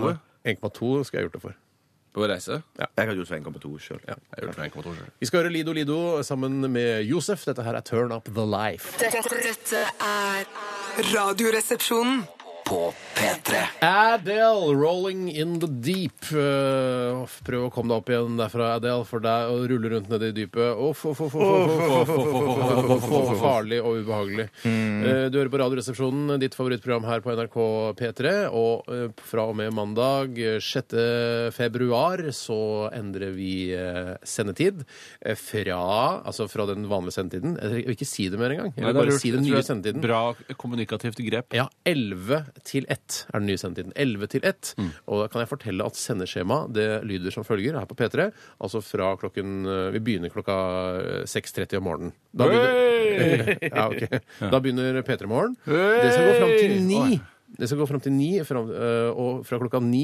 S4: nå?
S5: 1,2?
S3: 1,2 skulle jeg gjort det for.
S5: på reise?
S4: Jeg hadde gjort 1,2 sjøl.
S5: Jeg gjorde det for 1,2 selv.
S3: Vi skal høre Lido Lido sammen med Josef. Dette her er Turn Up The Life.
S6: Dette, dette er Radioresepsjonen.
S2: På P3.
S3: Adele, 'Rolling In The Deep'. Eh, Prøv å komme deg opp igjen derfra, Adele, for deg å rulle rundt nede i dypet. Uff, uff, uff, uff, uff, uff, uff, uff, uff, uff, uff, uff. Farlig og ubehagelig.
S5: Mm.
S3: Eh, Du hører på Radioresepsjonen, ditt favorittprogram her på NRK P3. Og eh, fra og med mandag eh, 6. februar så endrer vi eh, sendetid eh, fra, altså fra den vanlige sendetiden. Jeg vil ikke si det mer engang. Jeg
S5: Nei,
S3: vil
S5: det er
S3: bare
S5: lurt.
S3: si den nye
S5: Jeg tror det er et
S3: sendetiden.
S5: Bra kommunikativt grep.
S3: Ja, 11 til 1 er den nye sendetiden. 11 til 1.
S5: Mm.
S3: Og da kan jeg fortelle at sendeskjemaet det lyder som følger her på P3. Altså fra klokken eh, Vi begynner klokka eh, 6.30 om morgenen. Da begynner, ja, ok. da begynner P3 Morgen. Det skal gå fram til 9. Det skal gå fram til 9, fram, eh, og fra klokka 9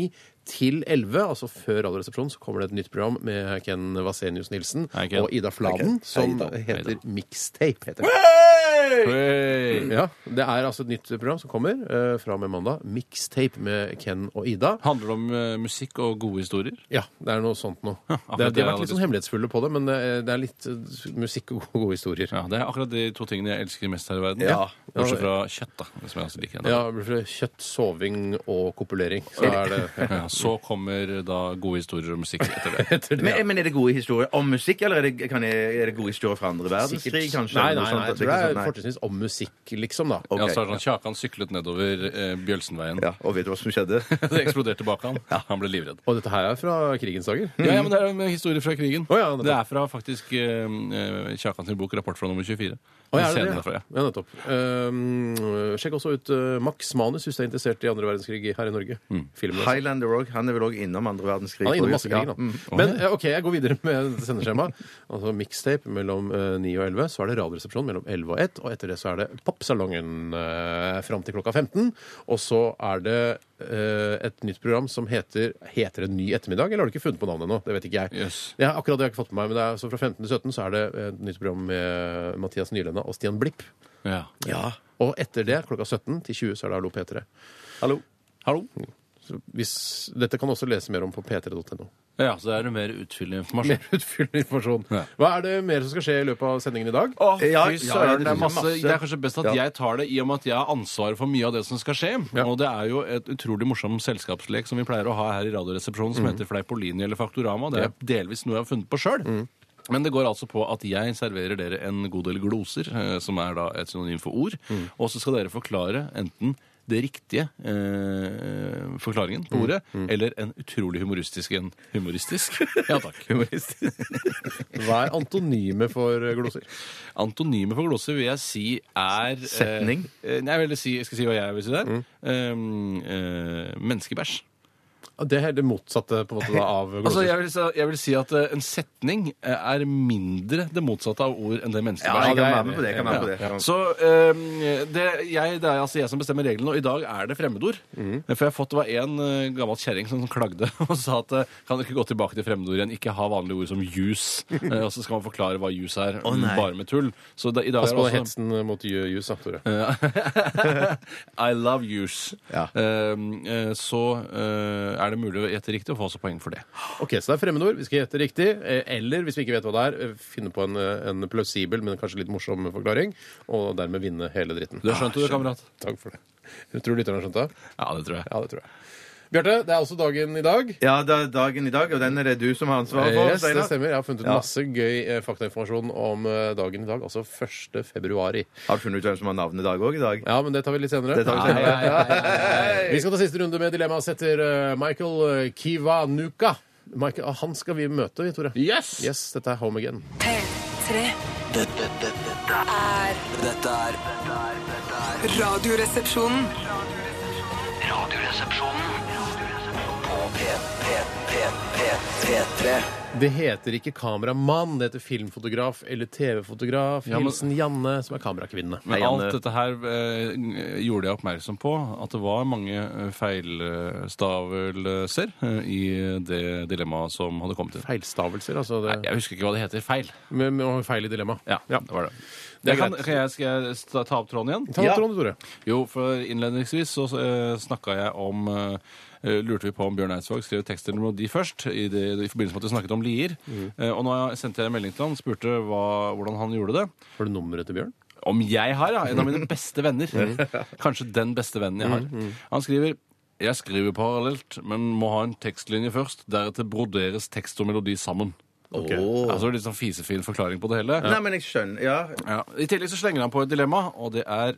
S3: til 11, altså før Radioresepsjonen, så kommer det et nytt program med Ken Vasenius Nilsen
S5: Hei, Ken.
S3: og Ida Fladen, som heter Mixtape. heter det.
S5: Hey!
S3: Ja, Det er altså et nytt program som kommer eh, fra og med mandag. Mixtape med Ken og Ida.
S5: Handler det om eh, musikk og gode historier?
S3: Ja, det er noe sånt noe.
S5: akkurat
S3: Det, de
S5: det
S3: har
S5: jeg
S3: vært litt
S5: hadde
S3: sånn hemmelighetsfulle på det, men eh, det er litt eh, musikk og gode historier.
S5: Ja, Det er akkurat de to tingene jeg elsker mest her i verden.
S3: Ja.
S5: Bortsett fra kjøtt, da, som jeg også liker. enda.
S3: Ja, fra Kjøtt, soving og kopulering. Så er det
S5: Ja, så kommer da gode historier og musikk etter det.
S3: etter det.
S4: Men, men er det gode historier om musikk, eller er det, kan jeg, er det gode historier fra andre verdenskrig? kanskje?
S3: Nei,
S4: eller
S3: nei,
S4: noe
S3: nei,
S4: sånt?
S3: jeg tror
S4: Ikke sånn-
S3: det er
S4: sant?
S3: sånn-
S4: Nei.
S3: fortrinnsvis om musikk, liksom, da.
S4: Ok.
S5: Ja, så er det sånn, Kjakan syklet nedover eh, Bjølsenveien.
S4: Ja, og vet du hva som skjedde?
S5: Det eksploderte bak han. Han ble livredd.
S3: Og dette her er fra krigens dager.
S5: Ja, ja, men Det Hm. er en historie fra krigen.
S3: Mm. Å, ja, nettopp.
S5: det er fra faktisk eh, eh, Kjakan sin bok 'Rapport fra nummer 24'.
S3: Å, ja, er det
S5: Scener
S3: det?
S5: fra, ja.
S3: Ja, nettopp. Ehm, sjekk også ut eh, Max Manus hvis du er interessert i andre verdenskrig her i Norge. Filmen. altså.
S4: Highlander òg. Han er vel òg innom andre verdenskrig.
S3: Han er innom
S4: Ja.
S3: masse kriger, han.
S4: Mm.
S3: Men eh, OK, jeg går videre med sendeskjema. Altså mixtape mellom eh, 9 og 11. Så er det Radioresepsjon mellom 11 og 1. Og etter det så er det Popsalongen eh, fram til klokka 15. Og så er det eh, et nytt program som heter Heter det Ny ettermiddag? Eller har du ikke funnet på navnet ennå? Det vet ikke jeg.
S5: Jøss.
S3: Ja, akkurat det har jeg ikke fått med meg, men det er, så fra 15 til 17 så er det et nytt program med Mathias Nylenda og Stian Blipp.
S5: Ja.
S3: Og etter det, klokka 17 til 20, så er det Hallo P3.
S5: Hallo. Hallo.
S3: Så hvis, dette kan du også lese mer om på p3.no.
S5: Ja, så det er det mer utfyllende informasjon.
S3: Mer utfyllende informasjon.
S5: Ja.
S3: Hva er det mer som skal skje i løpet av sendingen i dag?
S5: Å,
S4: Ja,
S5: fy
S4: ja, det
S5: søren, det, er
S4: er
S5: masse,
S4: masse.
S5: det er kanskje best at
S4: Ja.
S5: jeg tar det, i og med at jeg har ansvaret for mye av det som skal skje.
S3: Ja.
S5: Og det er jo et utrolig morsom selskapslek som vi pleier å ha her i Radioresepsjonen, som heter Fleipolini eller Faktorama. Det er delvis noe jeg har funnet på sjøl. Men det går altså på at jeg serverer dere en god del gloser, eh, som er da et synonym for ord. Og så skal dere forklare enten det riktige eh, forklaringen på ordet, eller en utrolig humoristisk en. Humoristisk? Ja takk. humoristisk.
S3: Hva er antonyme for eh, gloser?
S5: Antonyme for gloser vil jeg si er eh,
S4: Setning?
S5: eh, nei, jeg, vil si, jeg skal si hva jeg vil si der. Um, eh, menneskebæsj.
S3: Det er det motsatte på en måte da, av gloser.
S5: Altså, jeg, vil, si- jeg vil si at eh, en setning eh, er mindre det motsatte av ord enn det
S4: Ja,
S5: menneskebæsj
S4: jeg
S3: det
S4: kan
S3: er-
S4: være med på det. Jeg kan være med på det.
S5: Ja. Så eh, det, jeg, det er altså jeg som bestemmer reglene, og i dag er det fremmedord. For jeg har fått, det var en eh, gammel kjerring som, som klagde og sa at eh, kan dere ikke gå tilbake til fremmedord igjen, ikke ha vanlige ord som jus. Eh, og så skal man forklare hva jus er, bare med tull. Så da, i dag
S3: Pass
S5: er
S3: på
S5: det også-
S3: hetsen mot ju- jus, da, Tore.
S5: I love yous.
S4: Ja.
S5: Ehm, eh, så eh, er det mulig å gjette riktig og få også poeng for det.
S3: Ok, Så det er fremmedord. Vi skal gjette riktig. eh, Eller hvis vi ikke vet hva det er, eh, finne på en, eh, en plausibel, men kanskje litt morsom forklaring, og dermed vinne hele dritten. Ah,
S5: Du har skjønt
S4: Ah,
S5: det, du, kamerat?
S3: Takk for det. Tror du lytterne har skjønt det?
S5: Ja, det tror jeg.
S3: Ja, det tror jeg. Bjarte, det er også dagen i dag.
S4: Ja, det er dagen i dag, og den er det du som har ansvaret for.
S3: Yes, det
S4: Steinar.
S3: stemmer. Jeg har funnet ut
S4: Ja.
S3: masse gøy eh, faktainformasjon om eh, dagen i dag, altså 1. februari.
S4: Har du funnet ut hvem som har navnedag òg i dag?
S3: Ja, men det tar vi litt senere.
S4: Det tar vi senere.
S3: Ja, ja, ja, ja, ja. Vi skal ta siste runde med dilemmaet setter eh, Michael eh, Kiwanuka. Michael, ah, han skal vi møte, vi, Tore.
S5: Yes!
S3: Yes, dette er Home Again.
S6: P3.
S2: Dette, dette, dette er Dette er Dette er
S6: Radioresepsjonen.
S2: Radioresepsjonen På P, P, P, P, P3
S3: Det heter ikke kameramann, det heter filmfotograf eller TV-fotograf.
S5: men-
S3: Hilsen Janne, som er kamerakvinne.
S5: Men
S4: Hei, Anne.
S5: alt dette her eh, gjorde jeg oppmerksom på at det var mange eh, feilstavelser eh, i det dilemmaet som hadde kommet inn.
S3: Feilstavelser, altså. Det,
S5: Jeg husker ikke hva det heter. Feil.
S3: med, med feil i dilemma.
S5: Ja, det var det.
S3: Det er
S5: kan,
S3: greit.
S5: kan jeg, skal jeg sta- ta opp tråden igjen?
S3: Ta ja. tråden, Tore.
S5: Jo, for innledningsvis så uh, snakka jeg om eh, Lurte vi på om Bjørn Eidsvåg skrev tekster eller melodi først, i, det, i forbindelse med at vi snakket om Lier.
S3: Mm.
S5: Eh, og nå sendte jeg en melding til han spurte hva, hvordan han gjorde det.
S3: Har du nummeret til Bjørn?
S5: Om jeg har, ja! En av mine beste venner.
S3: Mm.
S5: Kanskje den beste vennen jeg har. Han skriver jeg skriver parallelt, men må ha en tekstlinje først. Deretter broderes tekst og melodi sammen.
S3: Ok.
S5: Altså Litt sånn fisefin forklaring på det hele.
S4: Nei, men jeg skjønner. Ja.
S5: Ja. I tillegg så slenger han på et dilemma, og det er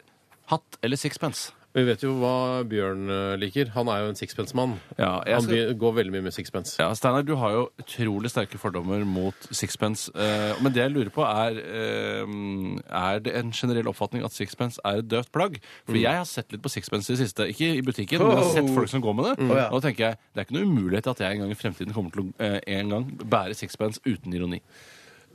S5: hatt eller sixpence.
S3: Vi vet jo hva Bjørn eh, liker. Han er jo en sixpence-mann.
S5: Ja, jeg
S3: han
S5: skal-
S3: be- går veldig mye med sixpence.
S5: Ja, Steinar, du har jo utrolig sterke fordommer mot sixpence. eh, men det jeg lurer på, er eh, Er det en generell oppfatning at sixpence er et døvt plagg? For jeg har sett litt på sixpence i det siste. Ikke i butikken, men jeg har sett folk som går med det.
S4: ja.
S5: Og da tenker jeg, det er ikke noe umulighet at jeg en gang i fremtiden kommer til å eh, en gang bære sixpence uten ironi.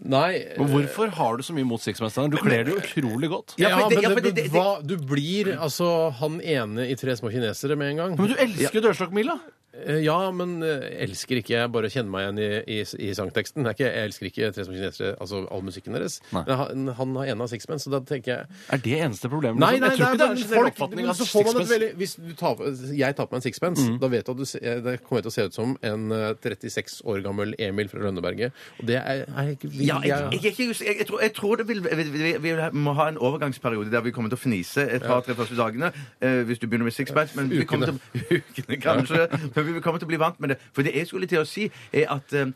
S3: Nei, eh,
S5: Men hvorfor har du så mye mot sixpence, Steinar? Du kler det jo utrolig godt.
S3: ja,
S4: Ja, for det-
S3: men
S4: ja,
S3: det,
S4: for det- det-
S3: hva, du blir altså han ene i Tre små kinesere med en gang.
S5: Men du elsker jo dørstokkmila!
S3: Eh, Ja, men eh, elsker ikke jeg bare kjenner meg igjen i, i, i sangteksten. Det er ikke, jeg elsker ikke Tre små kinesere, altså all musikken deres.
S5: Nei.
S3: Men han, han har ene av sixpence, så da tenker jeg
S5: Er det eneste problemet?
S3: Nei,
S5: liksom?
S3: nei,
S5: jeg tror
S3: nei,
S5: ikke det er
S3: men
S5: en generell
S3: folk-
S5: oppfatning
S3: men
S5: av
S3: så får man et
S5: sixpence. Mm.
S3: veldig- Hvis du tar, jeg tar på meg en sixpence, da vet du at du, se- da kommer jeg til å se ut som en eh, 36 år gammel Emil fra Rønneberget. Og det er, er ikke
S4: Ja, jeg, jeg, er ikke just- jeg, jeg, tror, jeg tror det vil vi, vi, vi må ha en overgangsperiode der vi kommer til å fnise et par-tre første dagene. eh, hvis du begynner med sixpence. Men vi kommer til ukene, kanskje. Men vi kommer til å bli vant med det. For det jeg skulle til å si, er at eh,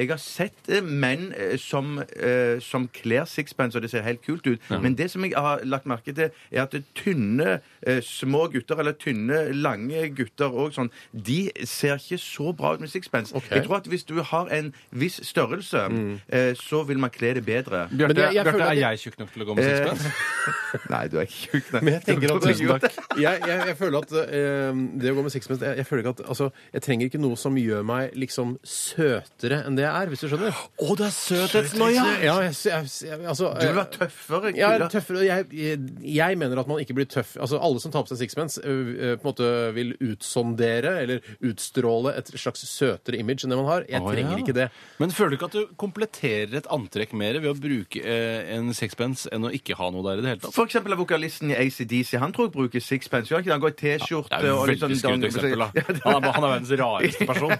S4: jeg har sett eh, menn eh, som, eh, som kler sixpence, og det ser helt kult ut. Men det som jeg har lagt merke til, er at tynne, eh, små gutter, eller tynne, lange gutter og sånn, de ser ikke så bra ut med sixpence.
S3: Ok.
S4: Jeg tror at hvis du har en viss størrelse, eh, så vil man kle det bedre.
S3: Men
S5: Bjarte,
S3: jeg- jeg føler
S5: Bjarte,
S3: at jeg-
S5: er jeg Eh, tjukk nok til å gå med sixpence?
S4: Nei, du er ikke tjukk, nei.
S3: Men jeg tenker at
S4: Tusen takk.
S3: Jeg, jeg, jeg føler at eh, det å gå med sixpence jeg, jeg føler ikke at altså, Jeg trenger ikke noe som gjør meg liksom søtere enn det jeg er, hvis du skjønner. Å, det er søthetsnoia! Ja, jeg, jeg, jeg, altså,
S4: Du vil være tøffere.
S3: Ja,
S4: kula.
S3: tøffere. Jeg, jeg, jeg mener at man ikke blir tøff. Altså, Alle som tar på seg sixpence, ø, ø, på en måte vil utsondere eller utstråle et slags søtere image enn det man har. Jeg
S5: Å,
S3: trenger
S5: ja.
S3: ikke det.
S5: Men føler du ikke at du kompletterer et antrekk mer ved å bruke eh, en sixpence enn å ikke ha noe der i det hele tatt?
S4: For eksempel er vokalisten i ACDC. Han tror jeg bruker sixpence. gjør Han ikke det? Han går i T-skjorte
S5: Det er jo liksom
S4: og
S5: et
S4: litt sånn
S5: veldig skummelt eksempel, da. Han er, han er verdens rareste person.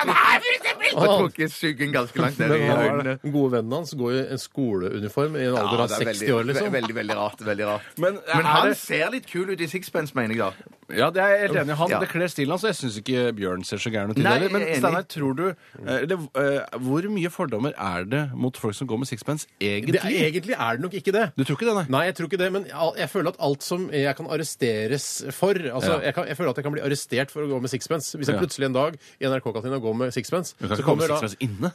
S4: Han har trukket suggen ganske langt ned i
S3: Men han har-
S4: øynene.
S3: den gode vennen hans går i en skoleuniform i en
S4: Ja,
S3: alder av
S4: det er
S3: 60 år,
S4: ve-
S3: liksom.
S4: Veldig, veldig rart. veldig rart.
S5: Men,
S4: Men
S5: er
S4: han
S5: det,
S4: ser litt kul ut i sixpence, mener jeg da.
S5: ja, det er jeg helt enig i. Han,
S4: Ja.
S5: Det kler stilen hans. og Jeg syns ikke Bjørn ser så gæren ut. i det
S4: Nei,
S5: heller. Men
S4: jeg er enig.
S5: Steinar, tror du eh, eller, eh, Hvor mye fordommer er det mot folk som går med sixpence,
S3: Det er,
S5: egentlig?
S3: egentlig er det nok ikke det.
S5: Du tror ikke det, nei?
S3: Nei, jeg tror ikke det, men al- jeg føler at alt som jeg kan arresteres for altså,
S5: Ja.
S3: jeg, kan, jeg føler at jeg kan bli arrestert for å gå med sixpence. Hvis jeg
S5: Ja.
S3: plutselig en dag i NRK-kantina går med sixpence,
S5: Du kan
S3: så
S5: ikke komme
S3: kommer da
S5: sixpence inne.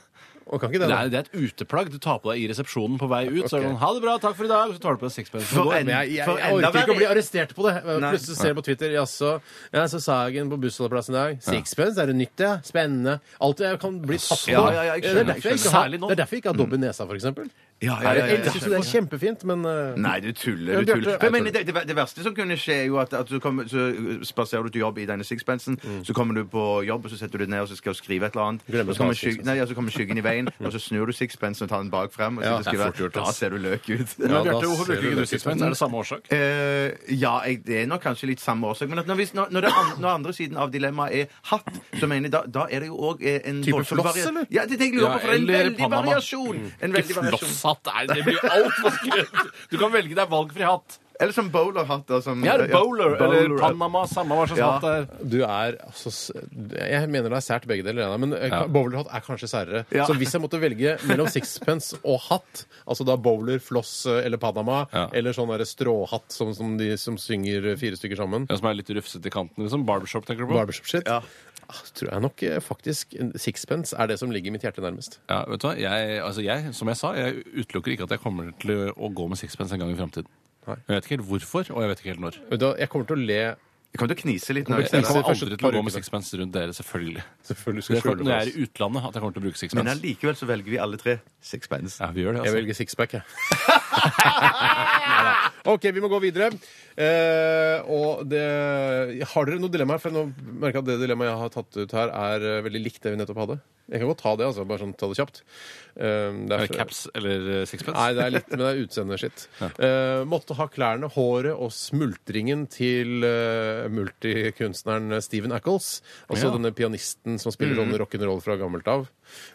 S3: Å, kan ikke det,
S5: Det
S3: da?
S5: er, det er et uteplagg du tar på deg i resepsjonen på vei ut. Så er det
S3: Ok.
S5: sånn, ha det bra, takk for i dag, så tar du på deg sixpence.
S4: For
S5: og går.
S4: en-
S3: Men jeg, jeg,
S4: For
S3: jeg
S4: enda
S3: orker ikke å
S4: verre-
S3: bli arrestert på det.
S4: Nei.
S3: Plutselig ser jeg på Twitter Jaså, ja, så Sagen på bussholdeplassen i dag. Sixpence, er det nytt, ja? Spennende. Alt jeg kan bli tatt på.
S4: Ja, ja, ja, jeg
S3: det,
S4: skjønner,
S3: er derfor jeg
S4: jeg
S3: ikke har,
S5: skjønner. Særlig nå.
S3: det er derfor jeg ikke har dobbel nesa, for eksempel.
S4: Ja,
S3: Jeg syns det er kjempefint, men eh,
S4: Nei, du tuller.
S3: Men
S4: du tuller. For
S3: Bjarte- Jeg
S4: jeg
S3: tuller.
S4: mener, det, det, det verste som kunne skje, er jo at, at du kommer, så eh, spaserer du til jobb i denne sixpencen, så kommer du på jobb, og så setter du deg ned og så skal du skrive et eller annet.
S3: Mm.
S4: og
S3: Glemmer å
S4: så
S3: ta
S4: kommer,
S3: av
S4: skygg, nei, ja, så kommer skyggen i veien, og så snur du sixpencen og tar den bak frem. Og sitter og
S3: Ja, det er
S4: skriver,
S3: fort gjort,
S4: da
S3: ass.
S4: ser du løk ut.
S3: Ja,
S5: Men
S3: da
S5: Bjarte, hvorfor
S3: ser
S5: bruker
S3: du
S5: ikke
S3: det
S5: du sixpence? Er det samme årsak?
S4: Eh, ja, jeg, det er nok kanskje litt samme årsak. Men at når, hvis, når, når, det an, når andre siden av dilemmaet er hatt, så mener jeg da, da er det jo òg en
S3: Type
S4: voldsom
S3: floss,
S4: varia-
S3: eller?
S4: Ja, det tenker jeg lurer
S5: Ja,
S4: på, for det er en
S5: eller
S4: veldig
S5: Panama.
S4: variasjon. En veldig variasjon.
S5: Flosshatt er det blir altfor skrønt. Du kan velge deg valgfri hatt.
S4: Eller som bowlerhatt. da, som-
S5: Ja, eller bowler, eller
S4: bowler.
S5: Panama, samme hva slags
S4: Ja.
S5: hatt det er.
S3: du er altså, s- Jeg mener det er sært begge deler, Einar, men eh,
S5: Ja.
S3: bowlerhatt er kanskje særere.
S4: Ja.
S3: Så hvis jeg måtte velge mellom sixpence og hatt, altså da bowler, floss eh, eller Panama,
S5: Ja.
S3: eller sånn derre stråhatt som, som de som synger eh, fire stykker sammen,
S5: Den som er litt rufsete i kanten, liksom. Barbershop, tenker du på?
S3: barbershop shit, ah, tror jeg nok eh, faktisk en sixpence er det som ligger mitt hjerte nærmest.
S5: Ja, vet du hva? Jeg, altså jeg, som jeg sa, jeg utelukker ikke at jeg kommer til å gå med sixpence en gang i fremtiden. Jeg vet ikke helt hvorfor, og jeg vet ikke helt når.
S3: Vet du hva, Jeg kommer til å le
S4: Jeg kommer til å knise litt. Når
S3: Jeg
S4: jeg
S5: Jeg
S4: ser
S3: Eller
S5: kommer
S4: det.
S3: kommer først
S5: aldri
S3: et
S5: til
S3: par
S5: å gå
S3: uker
S5: med
S3: til.
S5: sixpence rundt dere, selvfølgelig.
S3: Selvfølgelig
S5: Det
S3: skal
S5: er for,
S3: skjule
S5: når jeg
S3: det.
S5: er i utlandet, at jeg kommer til å bruke
S4: Men
S5: sixpence.
S4: allikevel så velger vi alle tre sixpence.
S5: Ja, vi gjør
S3: Jeg
S5: det, altså.
S3: velger sixpack, jeg. Neida. OK, vi må gå videre. Eh, og det Har dere noe dilemma? her? For nå merker jeg at det dilemmaet jeg har tatt ut her, er eh, veldig likt det vi nettopp hadde. Jeg kan godt ta det, altså. Bare sånn ta det kjapt. Eh, det
S5: Eh,
S3: er-
S5: Caps eller eh, sixpence?
S3: Nei, det er litt, men det er utseendeskitt. Eh, måtte ha klærne, håret og smultringen til eh, multikunstneren Stephen Ackles. Altså
S5: Ja.
S3: denne pianisten som spiller sånn rock'n'roll fra gammelt av.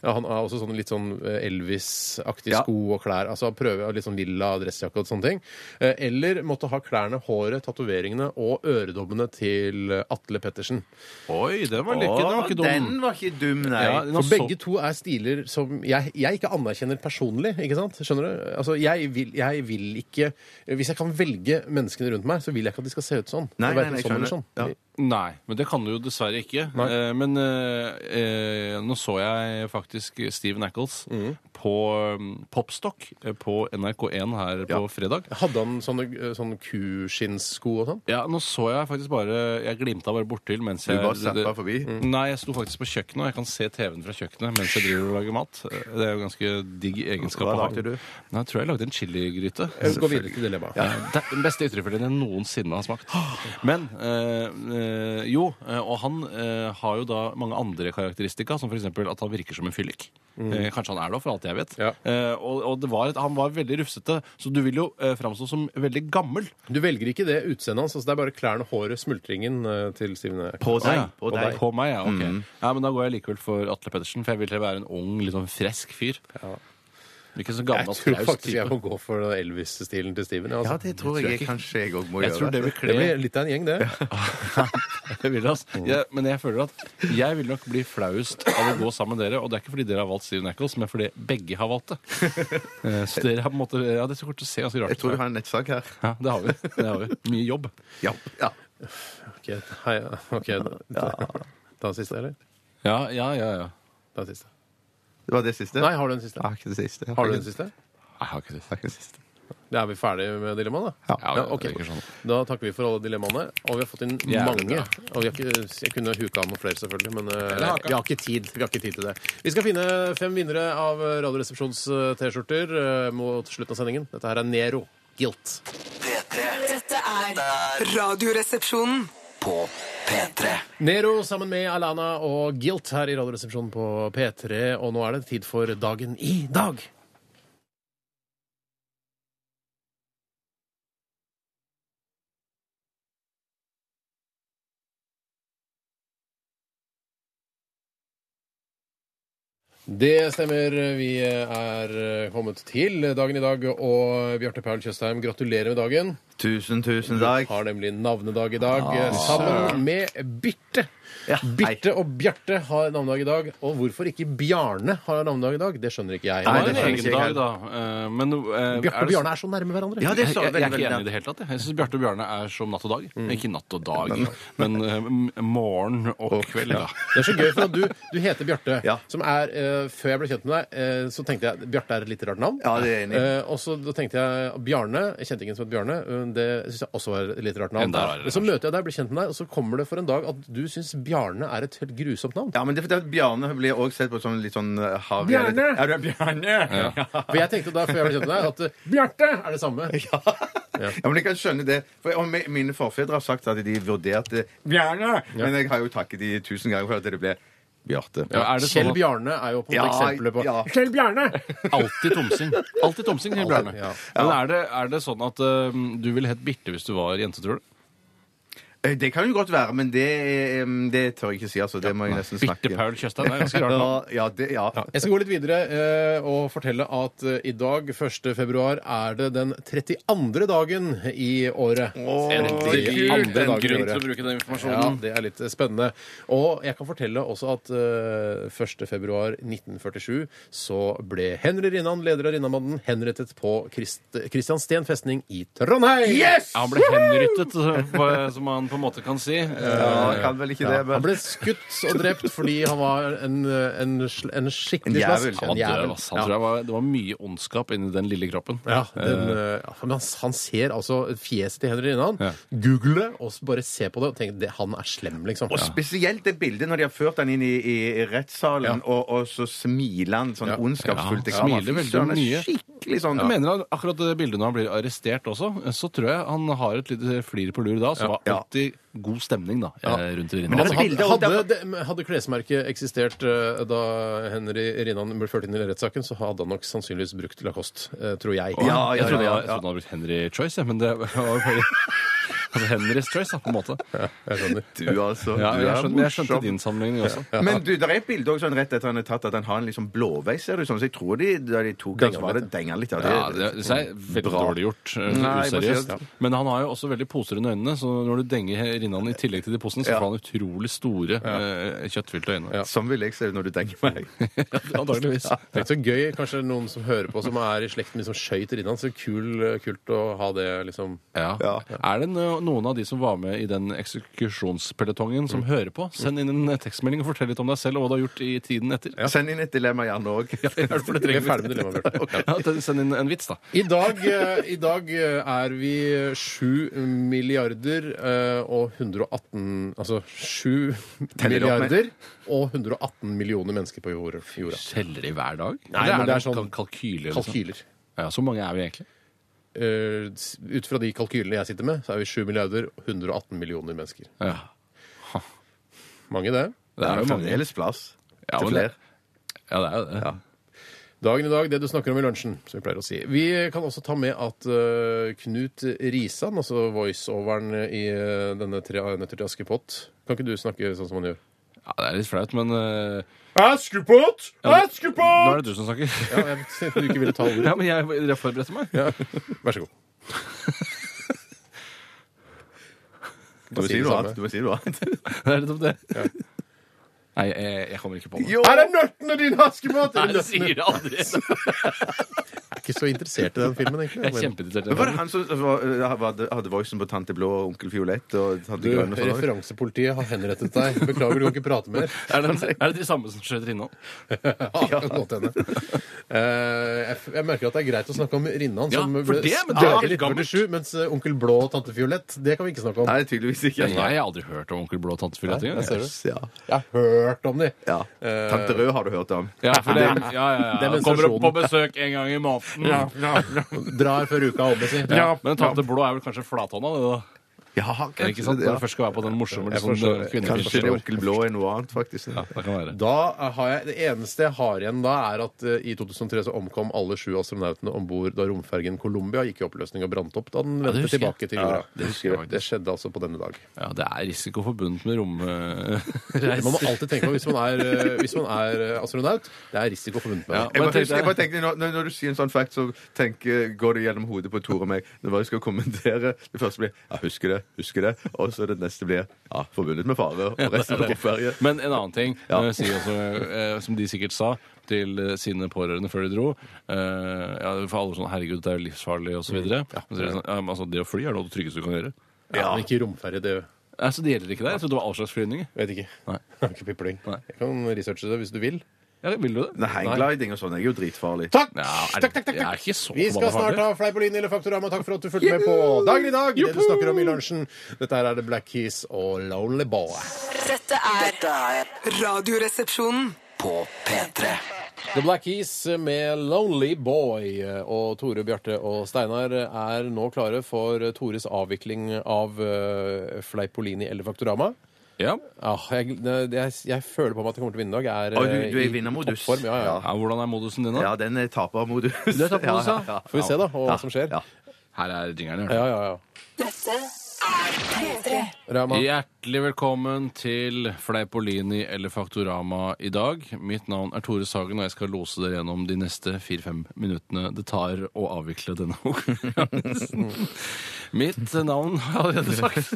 S3: Ja, han har også sånn litt sånn eh, Elvis-aktig
S4: Ja.
S3: sko og klær. Altså prøve litt sånn lilla dressjakke og sånne ting. Eh, eller måtte ha klærne, håret, tatoveringene og øredobbene til eh, Atle Pettersen.
S5: Oi, den var lykken. Den var ikke
S4: Å,
S5: dum.
S4: Den var ikke dum, nei.
S5: Ja, den
S3: For
S5: var så-
S3: begge to er stiler som jeg, jeg ikke anerkjenner personlig. ikke sant? Skjønner du? Altså, jeg vil, jeg vil ikke Hvis jeg kan velge menneskene rundt meg, så vil jeg ikke at de skal se ut sånn.
S4: Nei, nei, nei,
S3: Hverken sånn eller sånn.
S4: skjønner. Ja.
S5: Nei, men det kan du jo dessverre ikke. Eh, men eh, eh, nå så jeg faktisk Steven Ackles
S4: Mm.
S5: på um, Popstock eh, på NRK1 her på fredag.
S3: Hadde han sånne, sånne kuskinnssko og sånn?
S5: Ja, nå så jeg faktisk bare Jeg glimta bare bortil mens
S4: Du
S5: jeg
S4: bare zappa forbi.
S5: Nei, jeg sto faktisk på kjøkkenet, og jeg kan se TV-en fra kjøkkenet mens jeg driver og lager mat. Eh, Det er jo ganske digg egenskap.
S4: Hva
S5: å ha.
S4: lagde du?
S5: Nei, jeg tror jeg lagde en chiligryte.
S3: Jeg går videre til dilemmaet.
S5: Ja. Det er den beste ytrefileten jeg noensinne har smakt. Men eh, eh, jo, eh, og han eh, har jo da mange andre karakteristika, som f.eks. at han virker som en fyllik. Eh, kanskje han er det, for alt jeg vet.
S3: Ja.
S5: Eh, og og det var et, han var veldig rufsete, så du vil jo eh, framstå som veldig gammel.
S3: Du velger ikke det utseendet hans. altså Det er bare klærne, håret, smultringen eh, til Steven Ackles.
S4: På
S5: Å,
S4: deg.
S5: ja.
S4: På deg.
S5: På meg, ja. Ok. Ja, men da går jeg likevel for Atle Pettersen, for jeg vil være en ung, litt sånn fresk fyr. Ikke så
S3: Jeg
S5: gammel
S3: tror
S5: traust
S3: faktisk
S5: type.
S3: jeg må gå for Elvis-stilen til Steven. altså.
S4: Ja, det tror jeg, jeg kanskje jeg òg må
S5: Jeg
S4: gjøre.
S5: tror det vil
S3: Det
S5: kle
S3: blir litt av en gjeng, det.
S5: Jeg vil, ass. Jeg, men jeg føler at jeg vil nok bli flauest av å gå sammen med dere. Og det er ikke fordi dere har valgt Steve Nackles, men fordi begge har valgt det. Eh, Så dere har på en måte Ja, dette kommer til å se ganske
S4: Jeg
S5: rart
S4: tror vi
S5: ut.
S4: har en nettsak her.
S5: Ja, det har vi. Det har vi. Mye jobb.
S4: Ja. ja.
S3: Ok, hei, ok. Da, da siste, eller?
S5: Ja, ja, ja. ja.
S3: Da siste.
S4: Det var det siste?
S3: Nei, har du en siste?
S4: Jeg har ikke det siste. Jeg
S3: Har du en siste?
S5: Jeg har ikke det.
S4: Jeg har ikke det siste.
S3: Da er vi ferdige med dilemmaene, da?
S5: Ja,
S3: Ja, ok.
S5: det virker sånn.
S3: Da takker vi for alle dilemmaene. Og vi har fått inn
S5: Jævlig
S3: mange.
S5: bra.
S3: Og vi har ikke, jeg kunne huka av noen flere, selvfølgelig, men eh,
S5: Eller haka.
S3: vi har ikke tid Vi har ikke tid til det. Vi skal finne fem vinnere av Radioresepsjons eh, T-skjorter eh, mot slutten av sendingen. Dette her er Nero. Guilt.
S2: P3
S6: Dette er Radioresepsjonen.
S2: på P3.
S3: Nero sammen med Alana og Guilt her i Radioresepsjonen på P3, og nå er det tid for Dagen i dag. Det stemmer. Vi er kommet til dagen i dag, og Bjarte Paul Tjøstheim, gratulerer med dagen.
S4: Tusen, tusen takk.
S3: Har nemlig navnedag i dag, eh, sammen med Birte.
S4: Ah, Ja,
S3: Birte og Bjarte har navnedag i dag. Og hvorfor ikke Bjarne har navnedag i dag, det skjønner ikke jeg.
S5: Det
S4: Nei,
S5: var en
S4: skjønner
S5: egen
S4: ikke jeg
S5: dag,
S4: heller.
S5: da. eh, Men eh,
S3: Bjarte
S5: er
S3: og
S5: det-
S3: Bjarne er så nærme hverandre.
S4: Ja, det sa
S5: jeg, jeg, jeg er
S4: veldig, Mm.
S5: ikke enig i
S4: veldig.
S5: det hele tatt. jeg. Jeg syns Bjarte og Bjarne er som natt og dag. Ikke natt og dag, men eh, m- morgen og kveld. da.
S3: Det er så gøy, for at du, du heter Bjarte.
S4: Ja.
S3: Som er, eh, Før jeg ble kjent med deg, eh, så tenkte jeg Bjarte er et litt rart navn.
S4: Ja, det er jeg enig i.
S3: Eh, og så da tenkte jeg Bjarne. Jeg kjente ingen som het Bjørne. eh, Det syns jeg også var et litt rart navn.
S5: Enda rarere,
S3: Men så møter jeg deg, blir kjent med deg, og så kommer det for en dag at du syns Bjarne er et helt grusomt navn.
S4: Ja, men det er fordi at Bjarne blir også sett på som litt sånn eh, harry.
S3: Bjarne!
S4: eller- Ja, du er Bjarne! Ja.
S3: For jeg tenkte da før jeg ble kjent med deg, at eh, Bjarte er det samme.
S4: men jeg kan skjønne det. For om mi- Mine forfedre har sagt at de vurderte Bjarne, men jeg har jo takket de tusen ganger for at det ble Bjarte.
S5: Ja, er det sånn
S3: Kjell
S5: at-
S3: Bjarne er jo på ja,
S4: Ja,
S3: eksempelet på
S4: ja.
S3: Kjell Bjarne!
S5: Alltid tomsing. Alltid tomsing, Kjell Bjarne.
S3: ja.
S5: Men er det, er det sånn at eh, du ville hett Birte hvis du var jente, tror du?
S4: Eh, Det kan jo godt være, men det, eh, det tør jeg ikke si. altså. Det må jeg nesten snakke
S5: Birte Paul Tjøstheim. Det er ganske rart. navn.
S4: Ja, ja, det, ja.
S3: Jeg skal gå litt videre eh, og fortelle at eh, i dag, 1. februar, er det den 32. dagen i året.
S5: Endelig
S3: Endelig
S5: en
S3: andre dagen i
S5: grunn til
S3: året.
S5: å bruke den
S3: Ja,
S5: informasjonen.
S3: det er litt spennende. Og jeg kan fortelle også at eh, 1. februar 1947 så ble Henry Rinnan, leder av Rinnamannen, henrettet på Krist Kristiansten festning i Trondheim.
S4: Yes!
S5: Han ble henryttet, eh, som man på en måte kan si. Eh,
S4: Ja, jeg kan vel ikke det,
S3: Han
S4: men
S3: ble skutt og drept fordi han var en, en, sl- en
S4: En
S3: skikkelig
S4: jævel.
S3: slask.
S5: Han døde, ass. Han tror jeg var, det var mye ondskap inni den lille kroppen.
S3: Ja, den, eh, ja, men han, han ser altså fjeset til Henry Rinnan.
S5: Ja.
S3: Google det, og så bare se på det og tenk det, han er slem, liksom.
S4: Og spesielt det bildet når de har ført han inn i, i, i rettssalen, og, og så smiler han sånn
S3: Ja.
S4: ondskapsfullt.
S5: Ja,
S4: til kameraet.
S5: smiler
S4: Fy
S5: veldig
S4: søren, det er
S5: mye.
S4: Skikkelig sånn
S5: Jeg mener han, akkurat det bildet når han blir arrestert også, så tror jeg han har et lite flir på lur da, som var
S4: Ja.
S5: alltid god stemning da, eh, rundt i
S4: Men det er
S5: rinna.
S4: et
S3: Hadde,
S4: bilde av-
S3: hadde, det- hadde klesmerket eksistert eh, da Henry Rinnan ble ført inn i rettssaken, så hadde han nok sannsynligvis brukt Lacoste, eh, tror jeg.
S4: Ja,
S5: Jeg trodde jeg
S4: ja,
S5: jeg trodde han hadde brukt Henry Choice, jeg, men det var jo bare altså Henrys Choice, da, på en måte.
S3: Jeg skjønner.
S4: Du, altså.
S5: Ja,
S4: du er
S5: jeg, skjønte, men jeg
S4: morsom.
S5: skjønte din sammenligning også.
S4: Men du, det er et bilde også sånn rett etter han er tatt, at han har en liksom blåveis, ser du sånn. Så jeg tror de, da de tok han,
S3: Denger
S4: så var det
S3: litt.
S4: denger litt.
S5: Ja, det det er veldig dårlig gjort. eh,
S4: Nei, jeg må si
S5: Useriøst.
S4: at-
S5: Men han har jo også veldig poser under øynene, så når du denger rinnan i tillegg til de posene, så
S4: Ja.
S5: får han utrolig store, eh, kjøttfylte øyne.
S4: Sånn vil jeg se det når du denger meg.
S5: Antakeligvis.
S3: Tenk så gøy, kanskje noen som hører på som er i slekt med de som skøyt Rinnan. Så kul, kult å ha det, liksom.
S5: Ja.
S4: Ja.
S5: Er det no- noen av de som var med i den eksekusjonspeletongen
S4: Mm.
S5: som hører på? Send inn en tekstmelding og fortell litt om deg selv og hva du har gjort i tiden etter.
S4: Send inn et dilemma gjerne òg.
S3: For det trenger vi. Ferdig med dilemmaet, Bjarte.
S5: Ja, t- send inn en vits, da.
S3: I dag, eh, I dag eh, er vi 7 milliarder eh, og 118 Altså 7
S4: Teller opp med.
S3: milliarder og 118 millioner mennesker på jord- jorda.
S5: Teller i hver dag?
S3: Nei,
S5: Eller
S3: men det er
S5: noen
S3: sånn-
S5: kal- kalkyler. liksom?
S3: Kalkyler.
S5: Ja, så mange er vi egentlig.
S3: Eh, s- ut fra de kalkylene jeg sitter med, så er vi 7 milliarder og 118 millioner mennesker.
S5: Ja.
S3: Mange, det.
S5: Det er jo mange.
S4: fremdeles plass
S5: Ja,
S4: til
S5: men det-
S4: flere.
S5: Ja, det er jo det.
S3: Dagen i dag, det du snakker om i lunsjen, som vi pleier å si. Vi kan også ta med at eh, Knut Risan, altså voiceoveren i eh, denne Tre nøtter til Askepott Kan ikke du snakke sånn som han gjør?
S5: Ja, det er litt flaut, men eh,
S3: Askepott!
S5: Nå
S3: Askepott!
S5: er det du som snakker.
S3: Ja, jeg tenkte du ikke ville ta ordet.
S5: Ja, men jeg, jeg forberedte meg.
S3: Ja. Vær så god.
S4: Du må si noe annet. Du må si noe annet.
S5: Det er litt om det. Nei, jeg, jeg kommer ikke på det.
S4: Jo.
S3: Er det nøttene dine, Askepott? Er
S5: Nei,
S3: det
S5: jeg
S3: nøttene?
S5: sier det aldri.
S3: Jeg er ikke så interessert i den filmen, egentlig.
S5: Jeg er
S4: Men
S3: Men-
S4: var det
S5: kjempeinteressert.
S4: han som var, hadde, hadde voicen på Tante Blå og Onkel Fiolett og Tante
S3: Du,
S4: Grønn og sånn? også?
S3: referansepolitiet har henrettet deg. Beklager, du kan ikke prate mer.
S5: Er det, er det de samme som skjøter innom?
S3: Ja, det kan godt hende. Eh, jeg, f- jeg merker at det er greit å snakke om Rinnan,
S5: Ja,
S3: som
S5: for
S3: ble
S5: det- men det er
S3: død i
S5: litt gammelt.
S3: 1947, mens eh, Onkel Blå og Tante Fiolett, det kan vi ikke snakke om.
S4: Nei, tydeligvis ikke.
S5: Jeg har aldri hørt om Onkel Blå og Tante Fiolett
S3: Nei, der ser
S5: engang.
S3: du.
S4: Ja.
S3: Jeg har hørt om de.
S4: ja. Tante Rød har du hørt om.
S5: Eh, Ja, for det, ja, ja, ja.
S3: Det er
S5: Kommer opp på
S3: menstruasjonen.
S5: besøk en gang i måneden.
S3: Drar før uka er omme, si.
S5: Ja, men Tante Blå er vel kanskje flathånda? det da?
S4: Ja,
S5: Er det ikke sant? Når
S4: ja.
S5: det først skal være på den morsomme
S3: Jeg
S5: liksom,
S3: forstår.
S5: kvinnefilmen.
S4: Kanskje det er Onkel Blå er noe annet, faktisk.
S5: Ja, det kan være.
S3: Da har jeg, Det eneste jeg har igjen da, er at eh, i 2003 så omkom alle sju astronautene om bord da romfergen Columbia gikk i oppløsning og brant opp da den vendte
S5: husker jeg.
S3: tilbake til jorda.
S5: det husker jeg faktisk.
S3: det skjedde altså på denne dag.
S5: Ja, det er risiko forbundet med
S3: Man må
S5: romreiser.
S3: alltid tenke på hvis man er, eh, hvis man er eh, astronaut. Det er risiko forbundet med
S5: Ja,
S4: Jeg
S3: det.
S5: men
S4: bare,
S5: tenkte
S4: tenkte, jeg bare
S5: jeg-
S4: tenkte, når, når- når du sier en sånn fact, så tenker, går det gjennom hodet på Tor og meg. Når jeg skal kommentere, det første blir ja, 'husker det', 'husker det', og så det neste blir ja, 'forbundet med fare' og resten på ferie.
S5: Men en annen ting, eh, sier også, eh, som de sikkert sa til eh, sine pårørende før de dro eh, ja, For alle var sånn 'herregud, det er jo livsfarlig', osv. Ja. Sånn, ja, men altså, det å fly er noe av det tryggeste du kan gjøre.
S3: Ja, men ikke romferge. Det
S5: Altså, det gjelder ikke der. Jeg trodde det var all slags flyvninger.
S3: vet ikke.
S5: Nei.
S3: Jeg har ikke pipling.
S5: Nei.
S3: Jeg kan researche det hvis du vil.
S5: Ja, vil du det?
S4: Nei, Hanggliding og sånn er jo dritfarlig.
S3: Takk!
S5: Ja, er,
S3: takk, takk, takk,
S5: Jeg
S3: takk.
S5: er ikke så
S3: Vi skal
S5: forbanna
S3: snart
S5: farlig.
S3: ha Fleipolini eller Faktorama. Takk for at du fulgte med på Dagen i dag. Det du snakker om i lunsjen. Dette her er The Black Keys og Lonely Boy.
S6: Dette er
S2: Dette er
S6: Radioresepsjonen.
S2: på P3.
S3: The Black Keys med Lonely Boy. Og Tore, Bjarte og Steinar er nå klare for Tores avvikling av eh, Fleipolini eller Faktorama.
S5: Ja.
S3: Ja, jeg, det- jeg, jeg føler på meg at jeg kommer til å vinne i dag. Jeg er,
S4: Ah. Å, du-
S3: eh,
S4: du er i
S3: i
S4: vinnermodus.
S3: toppform, Ja, ja.
S4: Ja.
S5: ja, Hvordan er modusen din, da?
S4: Ja, den eh, er tapermodus.
S5: er tapermodus, ja.
S3: Får vi se, da, og
S4: Ja,
S3: hva som skjer.
S4: ja.
S5: Her er jingeren.
S3: Ja, ja, ja. Rama.
S5: Hjertelig velkommen til Fleipolini eller Faktorama i dag. Mitt navn er Tore Sagen, og jeg skal lose dere gjennom de neste fire-fem minuttene det tar å avvikle denne konkurransen. Mitt navn har jeg allerede sagt.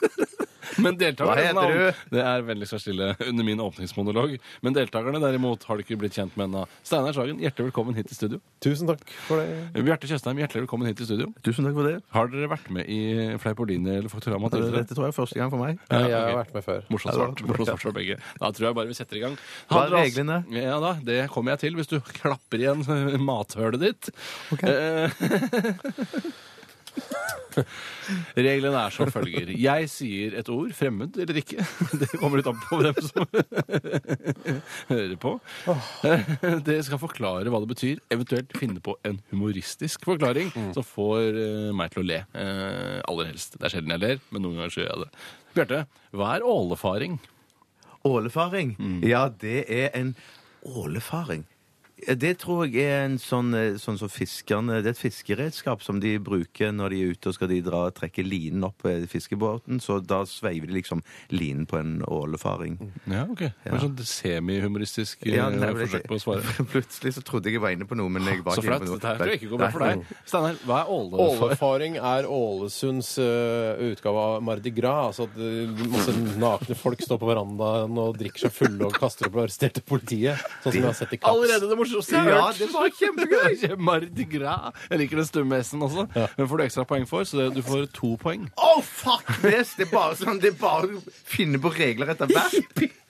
S5: Men deltakerne
S4: Hva heter
S5: Det er vennligst vær stille under min åpningsmonolog. Men deltakerne derimot har du ikke blitt kjent med ennå. Steinar Sagen, hjertelig velkommen hit til studio.
S3: Tusen takk for det.
S5: Bjarte Tjøstheim, hjertelig velkommen hit til studio.
S4: Tusen takk for det.
S5: Har dere vært med i Fleipolini eller Faktorama? tidligere?
S4: Dette tror jeg er første gang for meg.
S3: Ja, jeg har
S5: ok.
S3: vært med før.
S5: Morsomt svart. Morsomt svart fra begge. Da tror jeg bare vi setter i gang.
S4: Hva er
S5: Handler altså-
S4: reglene?
S5: Ja da, Det kommer jeg til hvis du klapper igjen eh, mathølet ditt. Eh, Reglene er som følger. Jeg sier et ord, fremmed eller ikke. Det kommer litt an på hvem som hører på. Eh, Dere skal forklare hva det betyr, eventuelt finne på en humoristisk forklaring
S4: Mm.
S5: som får eh, meg til å le. Eh, Aller helst. Det er sjelden jeg ler, men noen ganger så gjør jeg det. Bjarte, hva er ålefaring?
S4: Ålefaring?
S5: Mm.
S4: Ja, det er en ålefaring. Det tror jeg er en sånn, eh, sånn som fiskerne Det er et fiskeredskap som de bruker når de er ute og skal de dra og trekke linen opp eh, fiskebåten. Så da sveiver de liksom linen på en ålefaring.
S5: Ja, ok. Det var sånn semi-humoristisk eh,
S4: Ja, nei, men det-
S5: forsøk på å svare.
S4: Plutselig så trodde jeg jeg var inne på noe, men jeg var
S5: Så
S4: ikke inne
S5: flaut.
S4: på noe.
S5: Dette her tror jeg ikke går bra for deg. Steinar, hva er ålefaring?
S3: Ålefaring er Ålesunds eh, utgave av Mardi Gras. Altså at eh, masse nakne folk står på verandaen og drikker seg fulle og kaster opp arresterte politiet. Sånn som vi har sett i Klaps.
S5: Allerede det morsomste jeg
S4: Ja,
S5: har hørt!
S4: det var
S5: kjempegøy! Mardi Gras. Jeg liker den stumme S-en også. Den får du ekstra poeng for, så det- du får to poeng.
S4: Oh, fuck this! Det er bare sånn, det er bare å finne på regler etter hvert.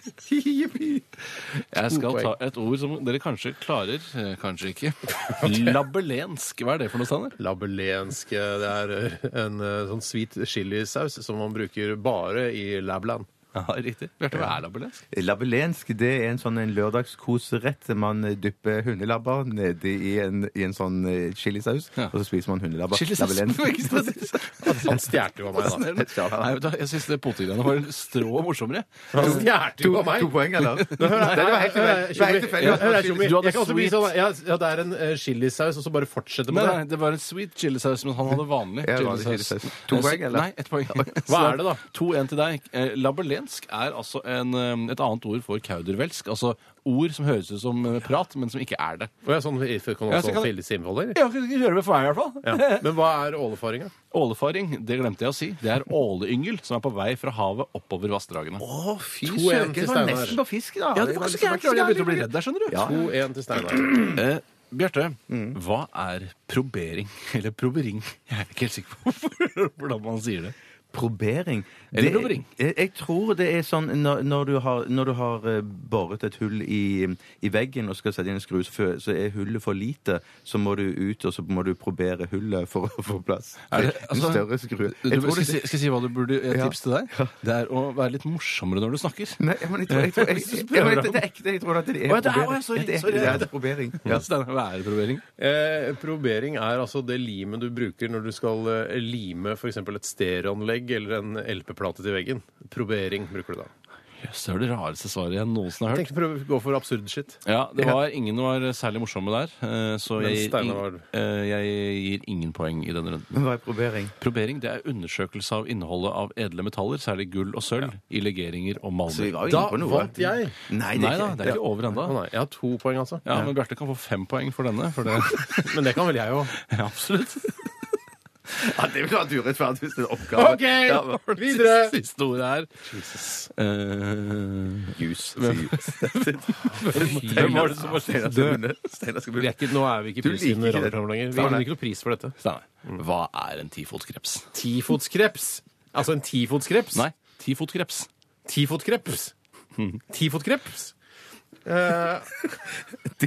S4: Jippi.
S5: Jeg skal
S3: poeng.
S5: ta et ord som dere kanskje klarer, eh, kanskje ikke. Labelensk. Hva er det for noe, Steinar?
S3: Labelensk eh, Det er eh, en eh, sånn hvit chilisaus som man bruker bare i Labland.
S5: Ja, riktig. Bjarte, hva er labelensk?
S4: Labelensk det er en sånn en lørdagskoserett. Man eh, dypper hundelabber nedi i en, i en sånn eh, chilisaus,
S5: Ja.
S4: og så spiser man hundelabber.
S5: Chilisaus.
S3: Han stjal jo av meg, da.
S5: Nei, vet du hva, jeg syns det potegreiene var strå morsommere.
S3: Han stjal
S4: To,
S3: jo av meg!
S4: to poeng, eller? Nei,
S3: Hør her,
S4: det var helt
S3: hør her,
S4: tilfeldig. Det var helt tilfeldig.
S3: Tjommi. Ja, hør her, Tjommi.
S5: Du hadde
S3: Jeg kan også bli
S5: sweet.
S3: sånn ja, ja, det er en eh, chilisaus, og så bare fortsette
S5: Nei,
S3: med
S5: nei,
S3: det.
S5: det var en sweet chilisaus, men han hadde vanlig
S4: Ja, vanlig
S5: chilisaus.
S4: chilisaus. To
S5: Eh, så-
S4: poeng, eller?
S5: Nei, ett poeng.
S3: Hva er det da?
S5: 2-1 til deg. Eh, Labelé Italiensk er altså en, eh, et annet ord for kaudervelsk. Altså ord som høres ut som eh, prat, men som ikke er det.
S3: Og jeg, sånn, if- kan
S5: Ja, så
S3: også
S5: kan-
S3: felles innfolder?
S5: Ja, ikke kjøre med for meg i hvert fall.
S3: Ja. Men hva er ålefaringa?
S5: Ålefaring, det glemte jeg å si. Det er åleyngel som er på vei fra havet oppover vassdragene.
S4: Å, fy
S3: To
S4: søren.
S3: en til
S4: Det var
S3: Steinar.
S4: nesten på fisk, da.
S5: Ja, det var ikke
S4: liksom
S5: så gærent. Jeg begynte å bli redd der, skjønner du.
S3: 2-1 til Steinar.
S5: Eh, Bjarte,
S4: Mm.
S5: hva er probering? Eller probering? Jeg er ikke helt sikker på hvorfor- hvordan man sier det.
S4: Probering.
S5: Eller
S4: Det-
S5: probering.
S4: Jeg, jeg tror det er sånn når, når, du, har, når du har eh, boret et hull i, i veggen og skal sette inn en skru, så, fø- så er hullet for lite. Så må du ut, og så må du probere hullet for å få plass.
S5: Er det-
S4: en
S5: altså,
S4: større skru.
S5: Du,
S4: Jeg
S5: du,
S4: tror
S5: skal, jeg si,
S4: det,
S5: skal jeg si hva du burde eh,
S4: Ja.
S5: tips til deg? Det er å være litt morsommere når du snakker.
S4: Nei, men jeg tror, jeg tror, jeg, jeg, jeg, jeg, det er ekte. Jeg tror at det er
S5: Å, ja, det er- å, ja,
S4: probering.
S5: sorry,
S4: Ja, det er-
S5: sorry.
S4: det er probering. Ja.
S5: Steinar, Hva er det probering?
S3: Eh, probering er altså det limet du bruker når du skal eh, lime f.eks. et stereoanlegg eller en LP-plate til veggen. Probering bruker du da.
S5: Jøss, det er det rareste svaret jeg noensinne har
S3: Jeg tenkte
S5: hørt.
S3: å prøve å gå for absurd shit.
S5: Ja, det var, Ingen var særlig morsomme der, eh, så
S3: Men
S5: jeg gir,
S3: Steinar
S5: ing- eh, jeg gir ingen poeng i denne runden.
S4: Men hva er probering?
S5: Probering det er undersøkelse av innholdet av edle metaller, særlig gull og sølv, i legeringer og
S4: Så vi
S5: malmer.
S4: var jo
S3: Da
S4: inne på noe.
S3: vant jeg.
S4: Nei, det
S5: Nei
S4: er
S5: da,
S4: ikke
S5: det er ikke over
S3: Å
S5: ennå.
S3: nei, jeg har to poeng, altså.
S5: Ja, men Bjarte kan få fem poeng for denne. For det,
S3: Men det kan vel jeg òg.
S5: ja, absolutt.
S4: ja, Det ville vært urettferdig hvis det er oppgave.
S3: OK,
S4: Ja, men-
S3: videre!
S5: Siste ordet er Eh,
S4: Jus. Hvem
S5: var det som var
S4: Steinar
S5: død?
S4: skal vinne. Steinar skal
S3: Vi er
S4: vinne.
S3: ikke, nå er vi ikke i
S4: Du
S3: prisgivende
S4: liker det.
S3: radioprogram lenger.
S4: Nei,
S3: Vi
S4: nei.
S3: vinner ikke noe pris for dette.
S5: Steinar, hva er en tifotskreps?
S3: Tifotskreps. Altså en tifotskreps?
S5: Nei, tifotkreps.
S3: Tifotkreps. Tifotkreps. Eh, det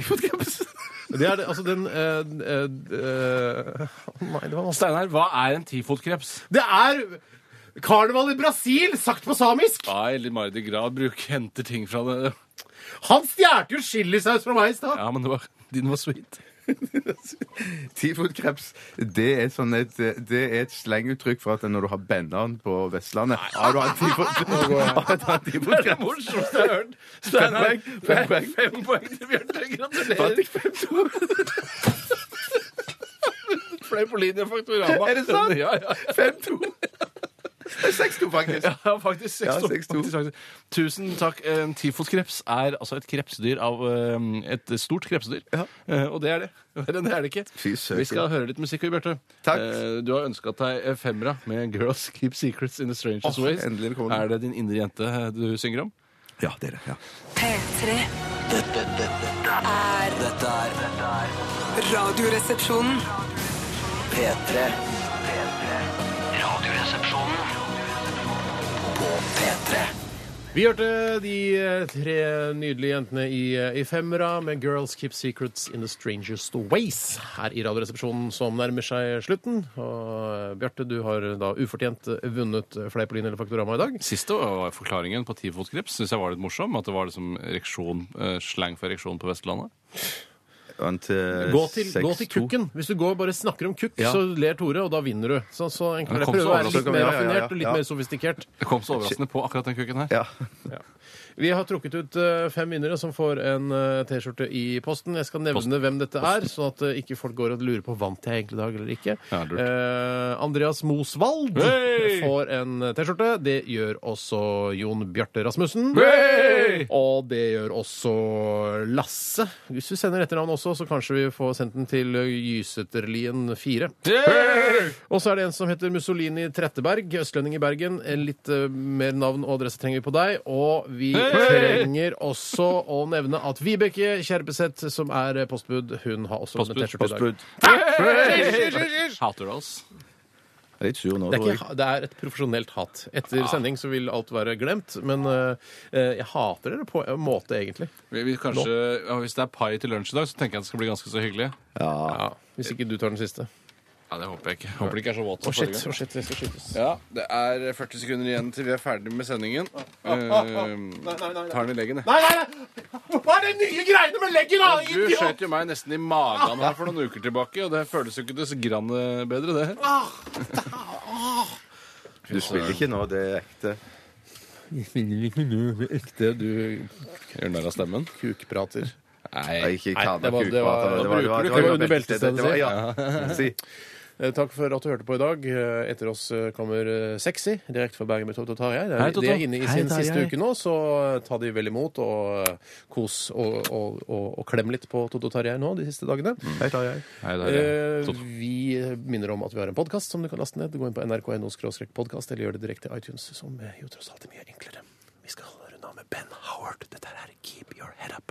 S3: er det, altså den eh, eh, eh, Å nei, det var vanskelig.
S5: Steinar, hva er en tifotkreps?
S3: Det er karneval i Brasil, sagt på samisk!
S5: Nei, litt Mardi Gras bruk, henter ting fra det.
S3: Han stjal jo chilisaus fra meg i stad!
S5: Ja, men det var, din var sweet.
S4: Tifodkreps, det er, sånn et, det er et slenguttrykk for at når du har benderen på Vestlandet Har du hatt
S3: eh,
S4: tifodkreps?
S5: morsomste jeg har hørt.
S4: Steinar, Fem poeng, fem poeng.
S5: fem poeng til Bjarte.
S4: Fant
S5: Gratulerer.
S4: ikke fem to.
S5: Fløy på linje Faktorama.
S4: Er det sant?
S5: Ja, ja.
S4: Fem to. Det er seks to, faktisk.
S5: Ja, faktisk. seks
S4: Ja,
S5: to.
S4: seks to.
S5: Faktisk, faktisk. Tusen takk. Eh, En tifotkreps er altså et krepsdyr av eh, Et stort krepsdyr. Eh, Og det er det. Verre enn det er det ikke.
S4: Fy søken.
S5: Vi skal høre litt musikk, Bjarte.
S4: Takk.
S5: Eh, Du har ønska deg eh, femmera med 'Girls Keep Secrets In The Strangest
S4: Åh,
S5: Ways'.
S4: endelig kom den.
S5: Er det din indre jente eh, du synger om?
S4: Ja, det er det. Ja.
S6: P3.
S2: Dette, dette, dette er Dette er
S6: Radioresepsjonen.
S2: P3. Radioresepsjonen på P3.
S3: Vi hørte de eh, tre nydelige jentene i, eh, i femmera med 'Girls Keep Secrets In The Strangest Ways' her i Radioresepsjonen som nærmer seg slutten. Og eh, Bjarte, du har da ufortjent eh, vunnet Fleipolin eller Faktorama i dag.
S5: Siste var forklaringen på tifotkreps. Syns jeg var litt morsom. At det var liksom ereksjon, eh, slang for ereksjon på Vestlandet.
S4: Vant, eh,
S3: Gå til,
S4: seks
S3: gå til
S4: to.
S3: kukken. Hvis du går og bare snakker om kukk,
S4: Ja.
S3: så ler Tore, og da vinner du. Så, så
S5: Men
S3: egentlig, jeg
S5: kom
S3: prøver å
S5: så
S3: være litt
S4: overraskende.
S3: mer
S4: Ja, ja, ja, ja.
S3: raffinert og litt
S4: Ja.
S3: mer sofistikert.
S5: Det kom så overraskende på akkurat den kuken her.
S4: Ja.
S3: Vi har trukket ut eh, fem vinnere som får en eh, T-skjorte i posten. Jeg skal nevne
S5: Posten.
S3: hvem dette er, sånn at eh, ikke folk går og lurer på vant jeg egentlig i dag eller ikke.
S5: Ja, lurt.
S3: Eh, Andreas Mosvald
S5: Hey!
S3: får en eh, T-skjorte. Det gjør også Jon Bjarte Rasmussen.
S5: Hey!
S3: Og det gjør også Lasse. Hvis du sender etternavn også, så kanskje vi får sendt den til eh, Gyseterlien 4. Og så er det en som heter Mussolini Tretteberg, østlending i Bergen. En Litt eh, mer navn og adresse trenger vi på deg. Og vi trenger også å nevne at Vibeke Kjerpeseth, som er eh, postbud, hun har også
S5: Postbud,
S3: en T-skjorte i dag.
S5: Hater du oss?
S4: Jeg er litt sur nå,
S3: Det er,
S4: tror jeg.
S3: ikke, det er et profesjonelt hat. Etter sending så vil alt være glemt, men eh, eh, jeg hater dere på en måte, egentlig.
S5: Vi, vi kanskje, ja, hvis det er pai til lunsj i dag, så tenker jeg det skal bli ganske så hyggelig.
S3: Ja, hvis ikke du tar den siste.
S5: Ja, Det håper jeg ikke. Håper det ikke er så våt
S3: Å, shit, å, shit, det skal skytes.
S5: Ja, Det er 40 sekunder igjen til vi er ferdig med sendingen. Eh, Tar den i leggen, jeg.
S3: Nei, nei, nei! Hva er de nye greiene med leggen, da?
S5: Du skjøt jo meg nesten i magen her for noen uker tilbake, og det føles jo ikke det så grann eh, bedre, det.
S3: Ah,
S4: Du spiller ikke nå, det er ekte.
S5: Ekte du Gjør narr av stemmen?
S3: Kukprater.
S4: Nei,
S5: Nei.
S4: ikke
S3: Nei,
S4: kall
S3: det
S4: meg
S3: var- det var-
S4: kukprater.
S3: da bruker du- det var under beltestedet,
S4: Det var- ja. Si.
S3: Eh, Takk for at du hørte på i dag. Eh, Etter oss eh, kommer eh, Sexy direkte fra Bergen med Toto Tarjei. Det
S5: Hei,
S3: er-
S5: Toto.
S3: De er inne i
S5: Hei,
S3: sin
S5: Tarjei.
S3: siste uke nå, så eh, ta de vel imot og eh, kos og, og, og, og klem litt på Toto Tarjei nå de siste dagene. Hei, Tarjei.
S5: Mm. Hei, det er
S3: Eh,
S5: Toto.
S3: Vi minner om at vi har en podkast som du kan laste ned. Gå inn på nrk.no podkast, eller gjør det direkte i iTunes, som eh, jo tross alt er mye enklere. Vi skal runde av med Ben Howard. Dette her er Keep Your Head Up.